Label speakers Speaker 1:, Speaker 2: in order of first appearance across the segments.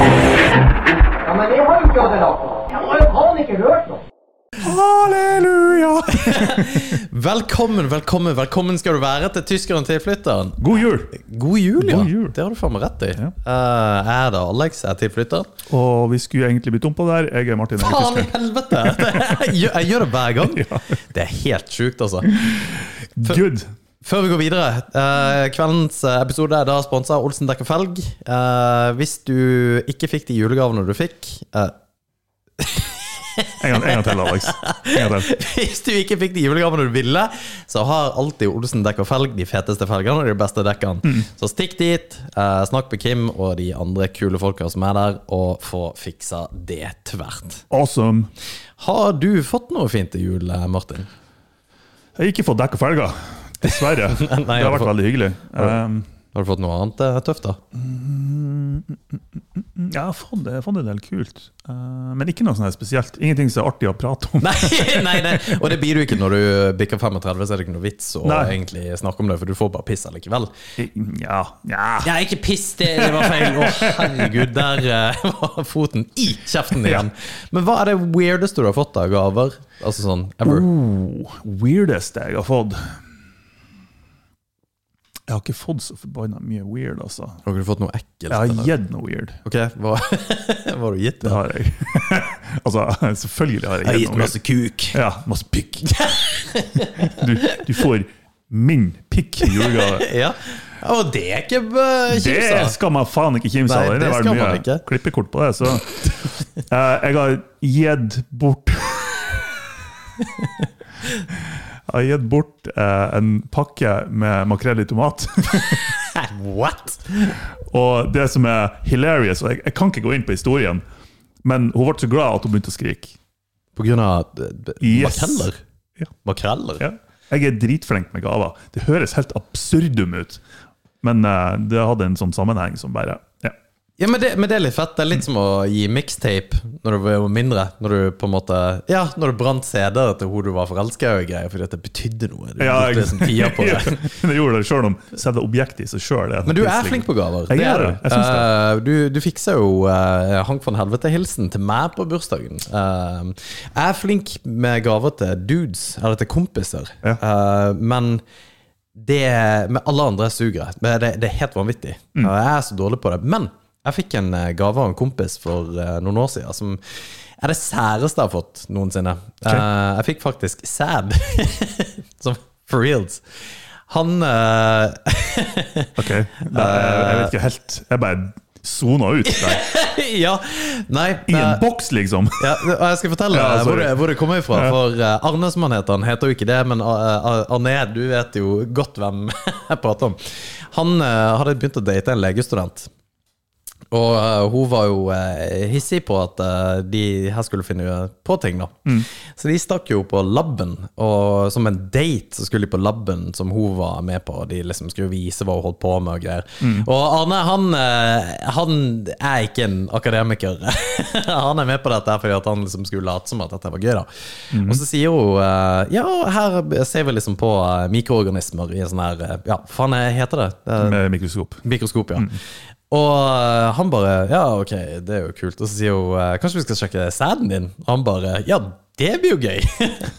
Speaker 1: Ja, men jeg har jo ikke hatt det lagt på. Jeg har jo faen ikke hørt noe.
Speaker 2: Halleluja!
Speaker 3: Velkommen, velkommen, velkommen skal du være til tyskeren tilflytteren.
Speaker 2: God jul!
Speaker 3: God jul, ja.
Speaker 2: God jul.
Speaker 3: Det har du faen meg rett i.
Speaker 2: Ja.
Speaker 3: Eh, jeg er da Alex, jeg er tilflytteren.
Speaker 2: Og vi skulle egentlig blitt om på det her. Jeg er Martin. jeg er
Speaker 3: Faen i
Speaker 2: tysker.
Speaker 3: helvete! Det, jeg, gjør- jeg gjør det hver gang. Det er helt sjukt, altså.
Speaker 2: Good.
Speaker 3: Før vi går videre, eh, kveldens eh, episode er da sponsa av Olsen dekker felg. Eh, hvis du ikke fikk de julegavene du fikk eh,
Speaker 2: En gang, en gang til, Alex. En gang til.
Speaker 3: Hvis du ikke fikk de julegavene du ville, så har alltid Olsen dekk og felg de feteste felgene og de beste dekkene. Så stikk dit, eh, snakk med Kim og de andre kule folka som er der, og få fiksa det tvert.
Speaker 2: Awesome.
Speaker 3: Har du fått noe fint til jul, eh, Martin?
Speaker 2: Jeg har ikke fått dekk og felger. Dessverre. det
Speaker 3: jeg
Speaker 2: har
Speaker 3: har
Speaker 2: vært
Speaker 3: fått-
Speaker 2: veldig hyggelig. Um,
Speaker 3: Har du fått noe annet eh, tøft, da?
Speaker 2: ja, jeg har fått, jeg har fått en del kult. Uh, men ikke noe sånn her spesielt. Ingenting som er artig å prate om.
Speaker 3: Nei, nei, nei, og det blir du ikke når du bikker 35, så er det ikke noe vits å
Speaker 2: Nei.
Speaker 3: egentlig snakke om det, for du får bare piss allikevel.
Speaker 2: Ja, ja.
Speaker 3: Ja, ikke piss, det, det var feil. Å, herregud, der eh, var foten i kjeften igjen. Men hva er det weirdeste du har fått av gaver? Altså sånn ever?
Speaker 2: Oh, weirdest jeg har fått Jeg har ikke fått så forbanna mye weird, altså.
Speaker 3: Har ikke du fått noe ekkelt?
Speaker 2: Jeg har
Speaker 3: eller?
Speaker 2: gitt noe weird.
Speaker 3: Ok, hva, hva har du gitt?
Speaker 2: Det har jeg. altså, selvfølgelig har jeg gitt noe weird.
Speaker 3: kuk.
Speaker 2: Ja, masse pikk. du, du får min pikk i julegave.
Speaker 3: Ja, og det er ikke eh,
Speaker 2: Det
Speaker 3: kjipt, da.
Speaker 2: skal man faen ikke kimse av.
Speaker 3: Nei,
Speaker 2: Det
Speaker 3: det
Speaker 2: er
Speaker 3: skal
Speaker 2: mye
Speaker 3: man ikke.
Speaker 2: klippekort på det. Så Eh, jeg har gitt bort Jeg har gitt bort eh, en pakke med makrell i tomat.
Speaker 3: altså. What?
Speaker 2: Og det som er hilarious, og jeg, jeg kan ikke gå inn på historien, men hun ble så glad at hun begynte å skrike.
Speaker 3: På grunn av eh, b-
Speaker 2: Yes.
Speaker 3: makreller?
Speaker 2: Ja.
Speaker 3: Makreller?
Speaker 2: Ja. Jeg er dritflink med gaver. Det høres helt absurdum ut, men eh, det hadde en sånn sammenheng som bare ja.
Speaker 3: Ja, men det, men det er litt fett. Det er litt som å gi mixtape når du var mindre. Når du på en måte Ja, når du brant CD-er til hun du var forelska i og greier, fordi at det betydde noe. Du
Speaker 2: Ja,
Speaker 3: brukte
Speaker 2: jeg-
Speaker 3: liksom tida på det.
Speaker 2: Men jeg gjorde det selv om selve objektet i seg sjøl
Speaker 3: Men du er flink på gaver.
Speaker 2: Jeg er det. Jeg syns det.
Speaker 3: Eh, du, du fiksa jo eh, Hank von Helvete-hilsen til meg på bursdagen. Eh, jeg er flink med gaver til dudes, eller til kompiser, Eh, men det med alle andre suger jeg. Men Det, det er helt vanvittig.
Speaker 2: Mm.
Speaker 3: Eh, jeg er så dårlig på det. Men jeg fikk en eh, gave av en kompis for eh, noen år siden som er det særeste jeg har fått noensinne. Eh, jeg fikk faktisk sæd. som for reals. Han eh,
Speaker 2: Ok, Nei, jeg, jeg vet ikke helt Jeg bare sona ut der.
Speaker 3: ja. Nei.
Speaker 2: I
Speaker 3: nei.
Speaker 2: en boks, liksom!
Speaker 3: Ja, og jeg skal fortelle
Speaker 2: Ja,
Speaker 3: deg hvor,
Speaker 2: sorry.
Speaker 3: det- hvor det kommer ifra. For eh, Arne, som han heter, han heter jo ikke det, men eh, Ar- Arne, du vet jo godt hvem jeg prater om. Han eh, hadde begynt å date en legestudent. Og eh, hun var jo eh, hissig på at eh, de her skulle finne eh, på ting, da. Så de stakk jo på laben, og som en date så skulle de på laben som hun var med på. Og de liksom skulle vise hva hun holdt på med og greier. Og Arne, han, eh, han er ikke en akademiker. han er med på dette her fordi at han liksom skulle late som at dette var gøy, da. Og så sier hun eh, ja, her ser vi liksom på eh, mikroorganismer i en sånn her eh, Ja, hva faen heter det? Eh,
Speaker 2: Med mikroskop.
Speaker 3: Mikroskop, ja. Og eh, han bare Ja, ok, det er jo kult. Og så sier hun eh, Kanskje vi skal sjekke sæden din? Og han bare Ja, det blir jo gøy.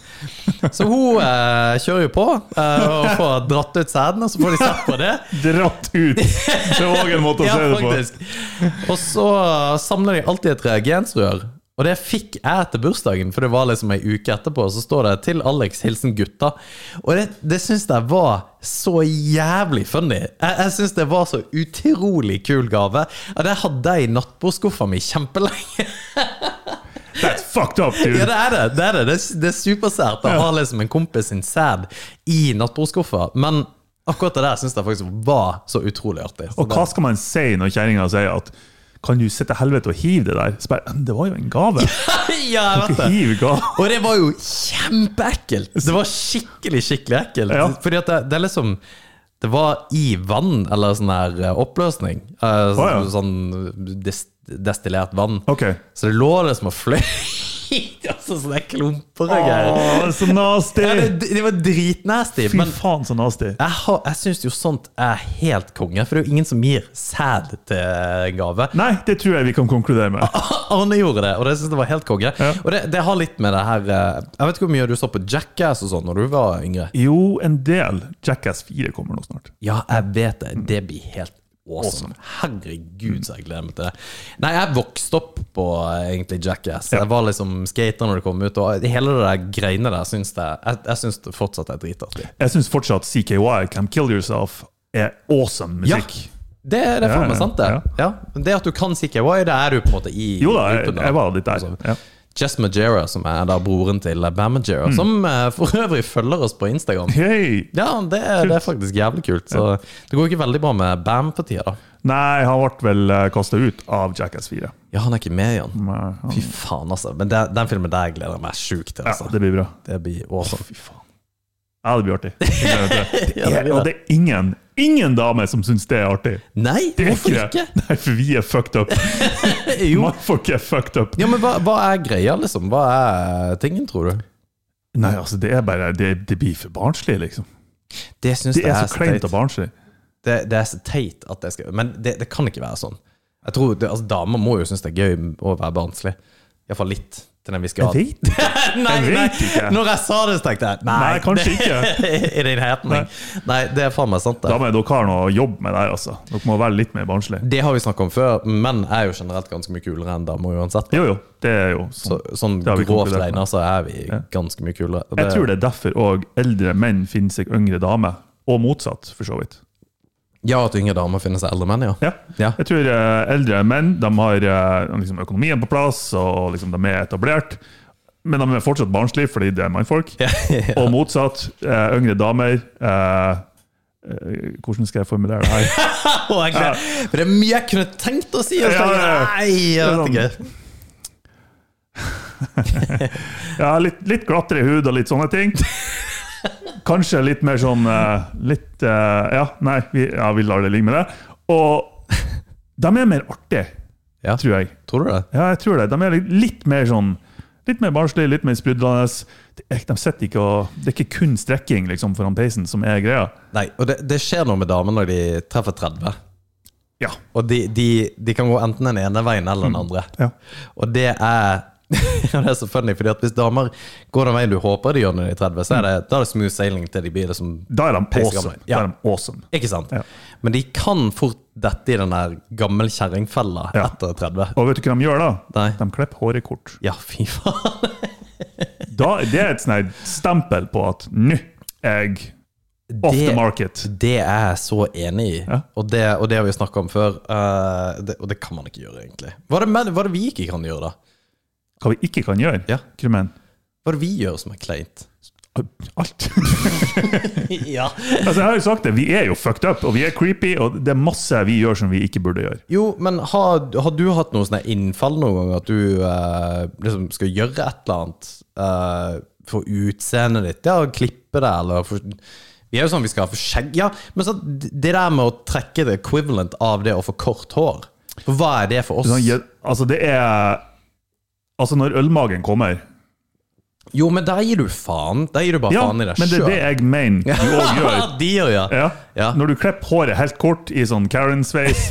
Speaker 3: så hun eh, kjører jo på eh, og får dratt ut sæden, og så får de sett på det.
Speaker 2: Dratt ut! Det var òg en måte å
Speaker 3: Ja,
Speaker 2: se det på.
Speaker 3: faktisk. Og så samler de alltid et reagensrør. Og det fikk jeg til bursdagen, for det var liksom ei uke etterpå. Så står det 'Til Alex. Hilsen gutta'. Og det, det syns jeg var så jævlig funny. Jeg, jeg syns det var så utrolig kul gave. Og det hadde jeg i nattbordskuffa mi kjempelenge.
Speaker 2: That's fucked up, dude!
Speaker 3: Ja, det er det. Det er, det. Det er, det er supersært å ha liksom en kompis sin sæd i nattbordskuffa. Men Akkurat det der syns jeg faktisk var så utrolig artig. Så
Speaker 2: Og hva skal man si når kjerringa sier at kan du sitte til helvete og hive det der? Så bare, "Men det var jo en gave.
Speaker 3: det, ja, jeg vet
Speaker 2: Ikke
Speaker 3: det.
Speaker 2: hiv gave.
Speaker 3: Og det var jo kjempeekkelt! Det var skikkelig, skikkelig ekkelt.
Speaker 2: Ja.
Speaker 3: Fordi at det, det er liksom Det var i vann, eller sånn her eh, oppløsning. Eh, så,
Speaker 2: ja.
Speaker 3: Sånn des, destillert vann.
Speaker 2: Ok.
Speaker 3: Så det lå liksom og fløy. altså, sånne klumper og greier.
Speaker 2: Åh, så
Speaker 3: Ja,
Speaker 2: nasty!
Speaker 3: det, det var dritnasty.
Speaker 2: Fy
Speaker 3: Men
Speaker 2: faen, så nasty.
Speaker 3: jeg, har, jeg syns jo sånt er helt konge, for det er jo ingen som gir sæd til gave.
Speaker 2: Nei, det tror jeg vi kan konkludere med.
Speaker 3: Ah. Arne gjorde det, og det synes jeg var helt konge. Og det, det har litt med det her eh, Jeg vet ikke hvor mye du så på Jackass og sånn når du var yngre.
Speaker 2: Jo, en del. Jackass 4 kommer nå snart.
Speaker 3: Ja, jeg vet det. Det blir helt awesome. Herregud, så jeg gleder meg til det. Nei, jeg vokste opp på eh, egentlig Jackass. Jeg var liksom skater når det kom ut, og hele det der greiene der syns jeg Jeg, jeg syns det fortsatt er dritartig.
Speaker 2: Jeg syns fortsatt CKY, Can Kill Yourself, er awesome musikk.
Speaker 3: Det, det er
Speaker 2: Ja,
Speaker 3: faen meg
Speaker 2: ja,
Speaker 3: sant, det.
Speaker 2: ja.
Speaker 3: Ja. Det at du kan CKY, det er du på en måte i
Speaker 2: Jo da,
Speaker 3: i
Speaker 2: jeg,
Speaker 3: gruppen, da.
Speaker 2: jeg var litt der.
Speaker 3: Altså,
Speaker 2: Ja.
Speaker 3: Jess Majera, som er da broren til Bam Majera, som eh, for øvrig følger oss på Instagram.
Speaker 2: Hei!
Speaker 3: Ja, det, er- det er faktisk jævlig kult. Så det går ikke veldig bra med Bam for tida, da.
Speaker 2: Nei, han ble vel kasta ut av Jackass 4.
Speaker 3: Ja, han er ikke med igjen.
Speaker 2: Men, han-
Speaker 3: Mm. Fy faen, altså. Men det, den filmen der gleder jeg meg sjukt til.
Speaker 2: Ja,
Speaker 3: Altså.
Speaker 2: det blir bra.
Speaker 3: det blir awesome. Fy faen.
Speaker 2: Ja, det blir artig. Jeg gleder meg til det.
Speaker 3: Ja, det blir det.
Speaker 2: Og det er ingen, ingen dame som syns det er artig.
Speaker 3: Nei,
Speaker 2: Det er
Speaker 3: hvorfor ikke?
Speaker 2: det. Nei, for vi er fucked up.
Speaker 3: Jo.
Speaker 2: Motherfuck er fucked up.
Speaker 3: Ja, men hva, hva er greia, liksom? Hva er tingen, tror du?
Speaker 2: Nei, altså, det er bare Det, det blir for barnslig, liksom.
Speaker 3: Det syns
Speaker 2: Det
Speaker 3: jeg
Speaker 2: er
Speaker 3: er
Speaker 2: så kleint
Speaker 3: teit.
Speaker 2: og barnslig.
Speaker 3: det, det er så teit at det skal Men det, det kan ikke være sånn. Jeg tror, det, altså Damer må jo synes det er gøy å være barnslig. Iallfall litt. Til den vi skal
Speaker 2: Jeg vet ikke.
Speaker 3: nei,
Speaker 2: jeg
Speaker 3: nei,
Speaker 2: vet ikke.
Speaker 3: Når jeg sa det, så tenkte jeg nei,
Speaker 2: Nei, kanskje ikke.
Speaker 3: I din hetning. Nei. det er faen meg sant,
Speaker 2: Da
Speaker 3: det.
Speaker 2: må dere ha noe å jobbe med der, altså. Dere må være litt mer barnslige.
Speaker 3: Det har vi snakka om før. Menn er jo generelt ganske mye kulere enn damer uansett.
Speaker 2: Jo, jo. Det er jo sånn.
Speaker 3: Så, sånn
Speaker 2: Det har vi
Speaker 3: grovt
Speaker 2: konkludert med.
Speaker 3: regna så er vi ganske mye kulere.
Speaker 2: Jeg tror det er derfor òg eldre menn finner seg yngre damer. Og motsatt, for så vidt.
Speaker 3: Ja, at yngre damer finner seg eldre menn, ja.
Speaker 2: Ja.
Speaker 3: Ja.
Speaker 2: Jeg tror eh, eldre menn de har eh, liksom økonomien på plass, og liksom de er etablert. Men de er fortsatt barnslige fordi det er mannfolk. Og motsatt. eh, yngre damer eh, eh, Hvordan skal jeg formulere det her?
Speaker 3: Og jeg gleder- For det er mye jeg kunne tenkt å si! Og så
Speaker 2: Ja,
Speaker 3: tenker
Speaker 2: ja, sånn. ja.
Speaker 3: jeg, nei, jeg vet ikke.
Speaker 2: Ja, litt, litt glattere hud og litt sånne ting. Kanskje litt mer sånn eh, Litt eh, Ja, nei, vi, ja, vi lar det ligge med det. Og de er mer artige,
Speaker 3: Ja.
Speaker 2: tror jeg.
Speaker 3: Tror du det?
Speaker 2: Ja, jeg tror det. De er litt- litt mer sånn Litt mer barnslige, litt mer sprudlende. Det er- De sitter ikke og Det er ikke kun strekking liksom, foran peisen som er greia.
Speaker 3: Nei, og det, det skjer noe med damer når de treffer 30.
Speaker 2: Ja.
Speaker 3: Og de, de, de kan gå enten den ene veien eller den andre.
Speaker 2: Mm. ja.
Speaker 3: Og det er det er så funny, fordi at hvis damer går den veien du håper de gjør når de er 30, så er
Speaker 2: Mm.
Speaker 3: det, da er det smooth sailing til de blir liksom
Speaker 2: Da er de
Speaker 3: Peisgamle.
Speaker 2: awesome.
Speaker 3: Ja.
Speaker 2: Da er de awesome.
Speaker 3: Ikke sant?
Speaker 2: Ja.
Speaker 3: Men de kan fort dette i den der gammel kjerringfella
Speaker 2: Ja.
Speaker 3: etter 30.
Speaker 2: Og vet du hva de gjør da?
Speaker 3: Nei.
Speaker 2: De klipper håret kort.
Speaker 3: Ja, fy faen.
Speaker 2: Da, det er et sånn her stempel på at nå er jeg off
Speaker 3: Det-
Speaker 2: the market.
Speaker 3: Det er jeg så enig i,
Speaker 2: Ja.
Speaker 3: og, det, og det har vi snakka om før. eh, det, og det kan man ikke gjøre, egentlig. Hva er det, men- hva er det vi ikke kan gjøre, da?
Speaker 2: Hva vi ikke kan gjøre?
Speaker 3: Ja.
Speaker 2: Krummen.
Speaker 3: Hva er det vi gjør som er kleint?
Speaker 2: Alt.
Speaker 3: ja.
Speaker 2: altså, jeg har jo sagt det, vi er jo fucked up, og vi er creepy, og det er masse vi gjør som vi ikke burde gjøre.
Speaker 3: Jo, men har, har du hatt noe sånne innfall noen gang at du eh, liksom skal gjøre et eller annet eh, for utseendet ditt? Ja, klippe det, eller for, Vi er jo sånn vi skal ha for skjegg Ja, men så, det der med å trekke det equivalent av det å få kort hår, for hva er det for oss?
Speaker 2: Sånn, jeg- Altså, det er Altså, når ølmagen kommer
Speaker 3: Jo, men der gir du faen. Der gir du bare
Speaker 2: Ja,
Speaker 3: faen i
Speaker 2: men
Speaker 3: deg
Speaker 2: det er det
Speaker 3: sjøl.
Speaker 2: jeg mener du òg gjør.
Speaker 3: De gjør, ja.
Speaker 2: Ja.
Speaker 3: Ja.
Speaker 2: Når du klipper håret helt kort i sånn Karen-sveis,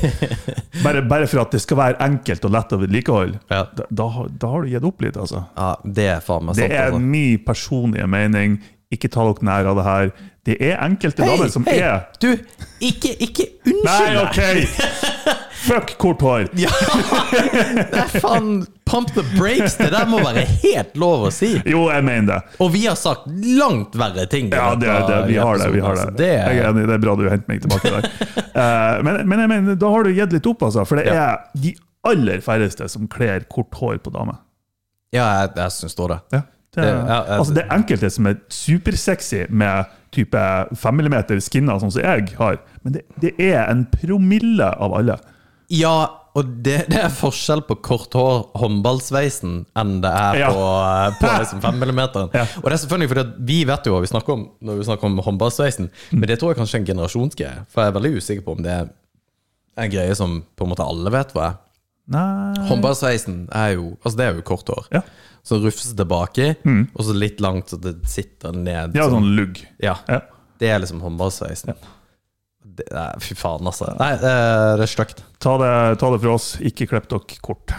Speaker 2: bare, bare for at det skal være enkelt og lett å vedlikeholde,
Speaker 3: Ja.
Speaker 2: da, da, har- da har du gitt opp litt, altså.
Speaker 3: ja. Det er faen meg
Speaker 2: Det
Speaker 3: sant.
Speaker 2: er
Speaker 3: altså.
Speaker 2: min personlige mening. Ikke ta dere nær av det her. Det er enkelte damer som
Speaker 3: hei,
Speaker 2: er
Speaker 3: Du, ikke, ikke unnskyld
Speaker 2: Nei,
Speaker 3: meg.
Speaker 2: OK! Fuck kort hår!
Speaker 3: Ja! Det er faen Pump the brakes! Det der må være helt lov å si.
Speaker 2: Jo, jeg mener det.
Speaker 3: Og vi har sagt langt verre ting. i
Speaker 2: Ja, det,
Speaker 3: dette
Speaker 2: det, vi har det. vi har
Speaker 3: episoden,
Speaker 2: Det
Speaker 3: altså.
Speaker 2: Jeg er enig, det er bra du henter meg tilbake der. Eh, men, men jeg mener, da har du gitt litt opp, altså. For det
Speaker 3: Ja.
Speaker 2: er de aller færreste som kler kort hår på damer.
Speaker 3: Ja, jeg, jeg syns da det.
Speaker 2: Ja. Det,
Speaker 3: Det-
Speaker 2: er-
Speaker 3: ja, jeg-
Speaker 2: altså, det er enkelte som er supersexy med type 5 mm skinner, sånn som jeg har. Men det, det er en promille av alle.
Speaker 3: Ja, og det, det er forskjell på kort hår, håndballsveisen, enn det er
Speaker 2: Ja.
Speaker 3: på, på liksom 5 mm.
Speaker 2: Ja.
Speaker 3: Og det er selvfølgelig fordi at vi vet jo hva vi snakker om når vi snakker om håndballsveisen, men det tror jeg kanskje er en generasjonsgreie. For jeg er veldig usikker på om det er en greie som på en måte alle vet hva er.
Speaker 2: Nei
Speaker 3: Håndballsveisen er jo Altså, det er jo kort hår.
Speaker 2: Mm. Ja, Mm.
Speaker 3: Så rufses det baki, og så litt langt så det sitter ned.
Speaker 2: ja sånn lugg.
Speaker 3: Ja.
Speaker 2: Ja.
Speaker 3: Det er liksom håndballsveisen. Det er, fy faen, altså. Nei, eh, det er stygt.
Speaker 2: Ta, det, ta det fra oss, ikke klipp dere kort.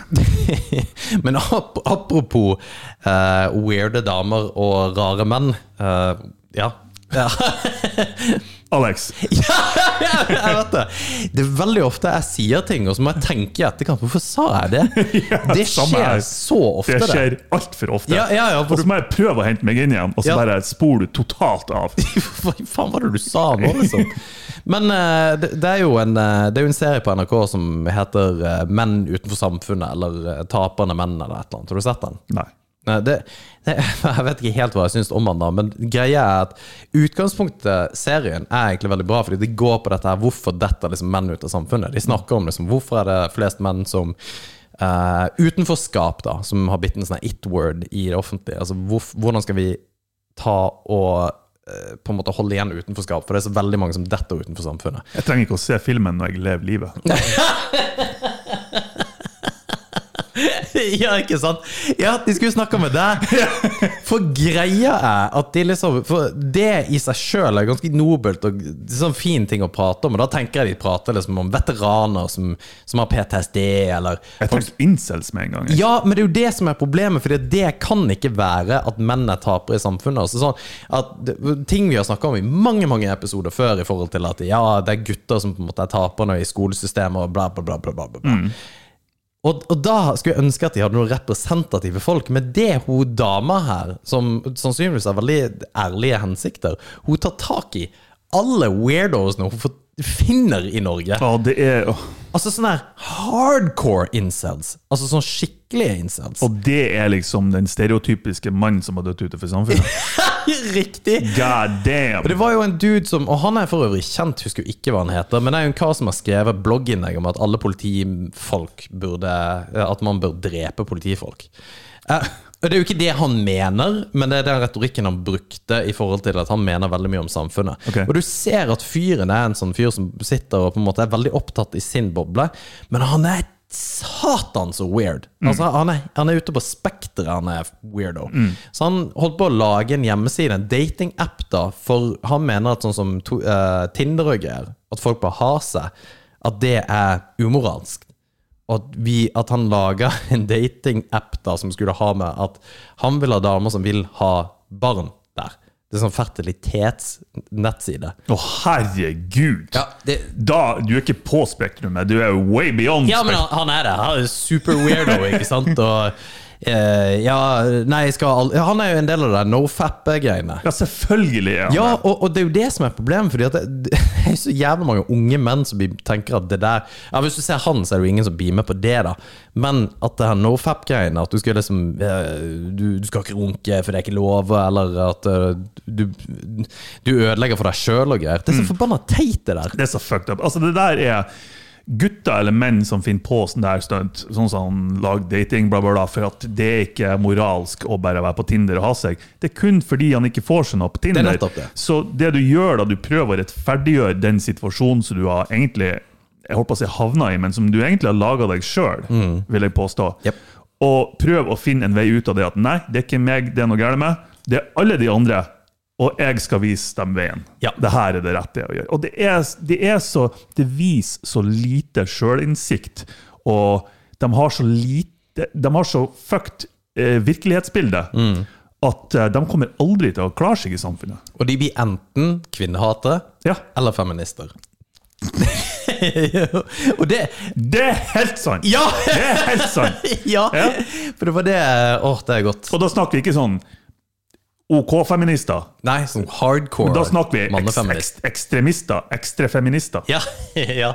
Speaker 3: Men ap apropos eh, weirde damer og rare menn. eh, ja. ja.
Speaker 2: Alex,
Speaker 3: Jeg vet det. Det er veldig ofte jeg sier ting, og så må jeg tenke i etterkant. Hvorfor sa jeg det? det
Speaker 2: samme her.
Speaker 3: skjer så ofte,
Speaker 2: det
Speaker 3: det.
Speaker 2: skjer altfor ofte.
Speaker 3: Ja, ja, ja, for-
Speaker 2: for du må jeg prøve å hente meg inn igjen, og så
Speaker 3: Ja.
Speaker 2: bare spoler du totalt av.
Speaker 3: Hva faen var det du sa nå, liksom? Men eh, det, det, er jo en, eh, det er jo en serie på NRK som heter eh, Menn utenfor samfunnet, eller eh, Taperne menn, eller et eller annet. Har du sett den?
Speaker 2: Nei.
Speaker 3: Nei, det, det, jeg vet ikke helt hva jeg syns om han da, men greia er at utgangspunktet serien er egentlig veldig bra, fordi det går på dette her hvorfor detter liksom menn ut av samfunnet. De snakker om liksom, hvorfor er det flest menn som eh, utenforskap, da, som har blitt en sånn her it-word i det offentlige. Altså hvorf- hvordan skal vi ta og eh, på en måte holde igjen utenforskap, for det er så veldig mange som detter utenfor samfunnet.
Speaker 2: Jeg trenger ikke å se filmen når jeg lever livet.
Speaker 3: ja, ikke sant? Ja, de skulle snakke med deg. For greia er at de liksom For det i seg sjøl er ganske nobelt og sånn fin ting å prate om. Og da tenker jeg de prater liksom om veteraner som, som har PTSD, eller
Speaker 2: Jeg tenker incels med en gang. jeg.
Speaker 3: ja, men det er jo det som er problemet, for det kan ikke være at menn er tapere i samfunnet. Altså sånn at det- Ting vi har snakka om i mange mange episoder før i forhold til at ja, det er gutter som på en måte er taperne i skolesystemet og bla, bla, bla. bla, bla, bla. Og, og da skulle jeg ønske at de hadde noen representative folk, men det hun dama her, som sannsynligvis har veldig ærlige hensikter, hun tar tak i alle weirdoesene hun får- finner i Norge.
Speaker 2: Ja, det er, åh,
Speaker 3: Altså sånn her hardcore incels. Altså sånn skikkelige incels.
Speaker 2: og det er liksom den stereotypiske mannen som har dødd utenfor samfunnet.
Speaker 3: Riktig!
Speaker 2: God damn!
Speaker 3: Og det var jo en dude som Og han er for øvrig kjent, husker jo ikke hva han heter, men det er jo en kar som har skrevet blogginnlegg om at alle politifolk burde eh, At man bør drepe politifolk. Eh, og det er jo ikke det han mener, men det er den retorikken han brukte i forhold til at han mener veldig mye om samfunnet.
Speaker 2: Ok.
Speaker 3: Og du ser at fyren er en sånn fyr som sitter og på en måte er veldig opptatt i sin boble, men han er satan så weird. Altså, han, er, han er ute på spekteret, han er weirdo. Så han holdt på å lage en hjemmeside, en datingapp, da, for han mener at sånn som to, eh, Tinder og greier, at folk bare har seg, at det er umoralsk. Og at, vi, at han laga en datingapp da, som skulle ha med at han vil ha damer som vil ha barn der. Det er sånn fertilitetsnettside.
Speaker 2: Å, herregud!
Speaker 3: det,
Speaker 2: Da, Du er ikke på spektrumet, du er way beyond
Speaker 3: Ja, men han, han er det. Han er super weirdo, ikke sant? Og eh, ja, nei, jeg skal aldri Han er jo en del av det nofap-greiene.
Speaker 2: Ja, selvfølgelig er han
Speaker 3: Ja,
Speaker 2: det.
Speaker 3: og, og det er jo det som er problemet, fordi at det, det er så jævlig mange unge menn som blir- tenker at det der Ja, Hvis du ser han, så er det jo ingen som beamer på det, da. Men at det her nofap-greiene, at du skal liksom eh, du, du skal ikke runke, for det er ikke lov, eller at eh, du, du ødelegger for deg sjøl og greier. Det er så forbanna teit, det der.
Speaker 2: Det er så fucked up. Altså, det der er gutter eller menn som finner på sånn der stunt, sånn som lag dating, bla, bla, bla, for at det er ikke moralsk å bare være på Tinder og ha seg. Det er kun fordi han ikke får seg noe på Tinder.
Speaker 3: nettopp det.
Speaker 2: Så det du gjør da, du prøver å rettferdiggjøre den situasjonen som du har egentlig jeg holdt på å si havna i, men som du egentlig har laga deg sjøl, vil jeg påstå.
Speaker 3: Mm. Jep.
Speaker 2: Og prøv å finne en vei ut av det at nei, det er ikke meg det er noe galt med. Det er alle de andre, og jeg skal vise dem veien.
Speaker 3: Ja.
Speaker 2: Det her er det rette å gjøre. Og det er, det er så Det viser så lite sjølinnsikt, og de har så lite De har så fucked eh, virkelighetsbilde
Speaker 3: Mm.
Speaker 2: at eh, de kommer aldri til å klare seg i samfunnet.
Speaker 3: Og de blir enten kvinnehatere
Speaker 2: Ja,
Speaker 3: Eller feminister. og det
Speaker 2: det er helt sant!
Speaker 3: Ja!
Speaker 2: Det er helt sant!
Speaker 3: ja!
Speaker 2: Ja.
Speaker 3: For det var det Åh, det er godt.
Speaker 2: Og da snakker vi ikke sånn OK-feminister.
Speaker 3: Nei, sånn hardcore
Speaker 2: Da snakker vi eks
Speaker 3: mannefeminist.
Speaker 2: ekst ekstremister. Ekstrefeminister.
Speaker 3: Ja, ja.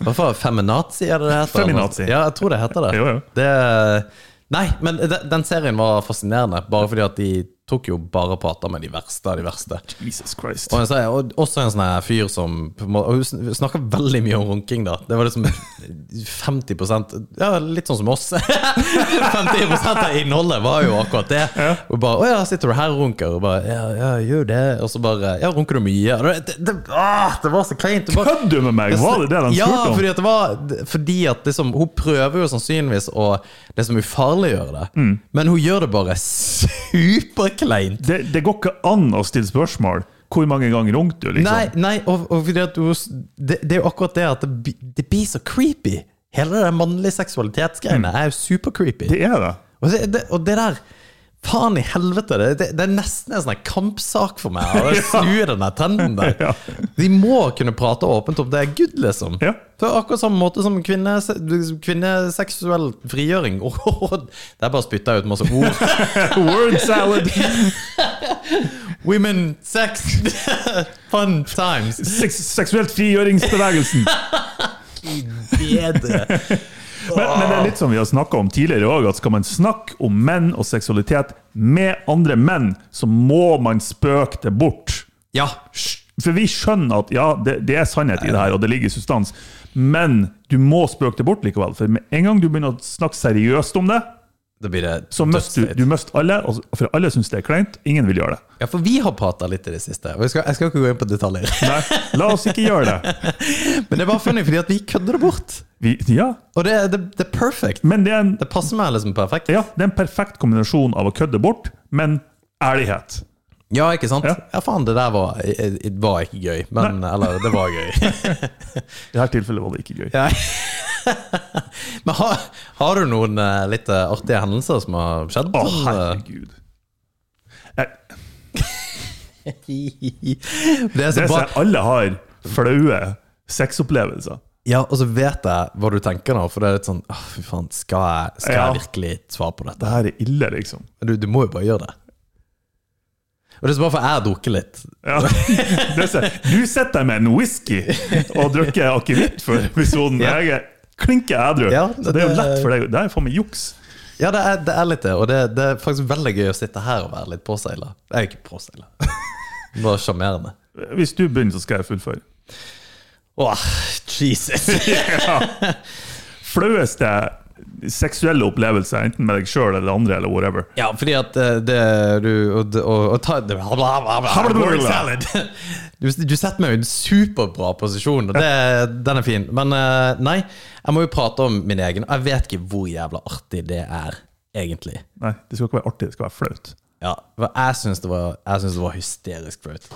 Speaker 3: Hva faen? Feminazi, er det det heter?
Speaker 2: Feminazi.
Speaker 3: Ja, jeg tror det heter det.
Speaker 2: Jo, jo.
Speaker 3: det nei, men de- den serien var fascinerende, bare fordi at de tok jo bare og prata med de verste av de verste.
Speaker 2: Jesus Christ.
Speaker 3: Og jeg sier, og også en sånn her fyr som på en måte- og Hun snakka veldig mye om runking, da. Det var liksom 50 Ja, litt sånn som oss. 50 av innholdet var jo akkurat det. Og bare 'Å ja, sitter du her og runker?' Og bare 'Ja, ja, gjør det.' Og så bare 'Ja, runker du mye?' Og Det, det, det, ah, det var så kleint. Det bare-
Speaker 2: Kødder du med meg? Var det det de
Speaker 3: ja,
Speaker 2: spurte om?
Speaker 3: fordi at det var Fordi at liksom Hun prøver jo sannsynligvis å liksom ufarliggjøre det,
Speaker 2: Mm.
Speaker 3: men hun gjør det bare superkleint.
Speaker 2: Det, det går ikke an å stille spørsmål. Hvor mange ganger rungte du? liksom?
Speaker 3: Nei, nei, og, og fordi at hun det, det er jo akkurat det at det, bli- det blir så creepy. Hele det mannlige seksualitetsgreiene er jo supercreepy.
Speaker 2: Mm. Det er det.
Speaker 3: Og det, det, og det der Faen i helvete, det, det, det er nesten en sånn her kampsak for meg å snu den der trenden der.
Speaker 2: Ja.
Speaker 3: De må kunne prate åpent om det er good, liksom.
Speaker 2: Ja.
Speaker 3: På akkurat samme måte som kvinne, kvinneseksuell frigjøring. Åh, det er bare spytta ut masse ord.
Speaker 2: Word salad!
Speaker 3: Women, sex, fun times.
Speaker 2: Seks, seksuelt frigjøringsbevegelsen.
Speaker 3: Bedre.
Speaker 2: Men, men det er litt som vi har snakka om tidligere òg, at skal man snakke om menn og seksualitet med andre menn, så må man spøke det bort.
Speaker 3: Ja.
Speaker 2: For vi skjønner at ja, det, det er sannhet i det her, og det ligger substans, men du må spøke det bort likevel. For med en gang du begynner å snakke seriøst om det,
Speaker 3: Da blir det
Speaker 2: så mister du, du mister alle, og så- for alle syns det er kleint. Ingen vil gjøre det.
Speaker 3: Ja, for vi har prata litt i det siste, og jeg skal, jeg skal ikke gå inn på detaljer.
Speaker 2: Nei, la oss ikke gjøre det.
Speaker 3: Men det er bare funny fordi at vi kødder det bort.
Speaker 2: Vi, ja,
Speaker 3: Og det, er- det, det er perfect.
Speaker 2: men det er, en,
Speaker 3: Det passer meg liksom perfekt.
Speaker 2: ja, det er en perfekt kombinasjon av å kødde bort, men ærlighet.
Speaker 3: Ja, ikke sant?
Speaker 2: Ja.
Speaker 3: Ja, faen, det der var, i- i- var ikke gøy. Men, eller, det var gøy.
Speaker 2: I dette tilfellet var det ikke gøy.
Speaker 3: Ja. Men har, har du noen eh, litt eh, artige hendelser som har skjedd?
Speaker 2: Å,
Speaker 3: Sånn, eh,
Speaker 2: herregud. Jeg,
Speaker 3: det er så
Speaker 2: det
Speaker 3: bra.
Speaker 2: ser alle har flaue sexopplevelser.
Speaker 3: Ja, og så vet jeg hva du tenker nå, for det er litt sånn åh, Fy faen, skal jeg, skal
Speaker 2: Ja.
Speaker 3: jeg virkelig svare på dette?
Speaker 2: Det her er ille, liksom.
Speaker 3: Men Du, du må jo bare gjøre det. Og det er så bra, for jeg har drukket litt.
Speaker 2: Ja. Det ser, du sitter der med en whisky og drikker akevitt for episoden.
Speaker 3: Ja.
Speaker 2: Jeg er klinke ædru.
Speaker 3: Ja,
Speaker 2: så det er jo
Speaker 3: det-
Speaker 2: lett for deg. Det er faen meg juks.
Speaker 3: Ja, det er, det er litt det, og det, det er faktisk veldig gøy å sitte her og være litt påseila. Jeg er jo ikke påseila. Bare sjarmerende.
Speaker 2: Hvis du begynner, så skal jeg fullføre.
Speaker 3: Åh, Jesus!
Speaker 2: Flaueste seksuelle opplevelser, enten med deg sjøl eller andre, eller whatever.
Speaker 3: Ja, fordi at eh, det du Og, og, og ta det, bla, bla, bla, bla,
Speaker 2: Habla, bla, bla.
Speaker 3: word salad. Du, du setter meg i en superbra posisjon, og det, den er fin. Men eh, nei, jeg må jo prate om min egen. Jeg vet ikke hvor jævla artig det er, egentlig.
Speaker 2: Nei, det skal ikke være artig, det skal være flaut.
Speaker 3: Ja, for jeg syns det, var- jeg syns det var hysterisk flaut.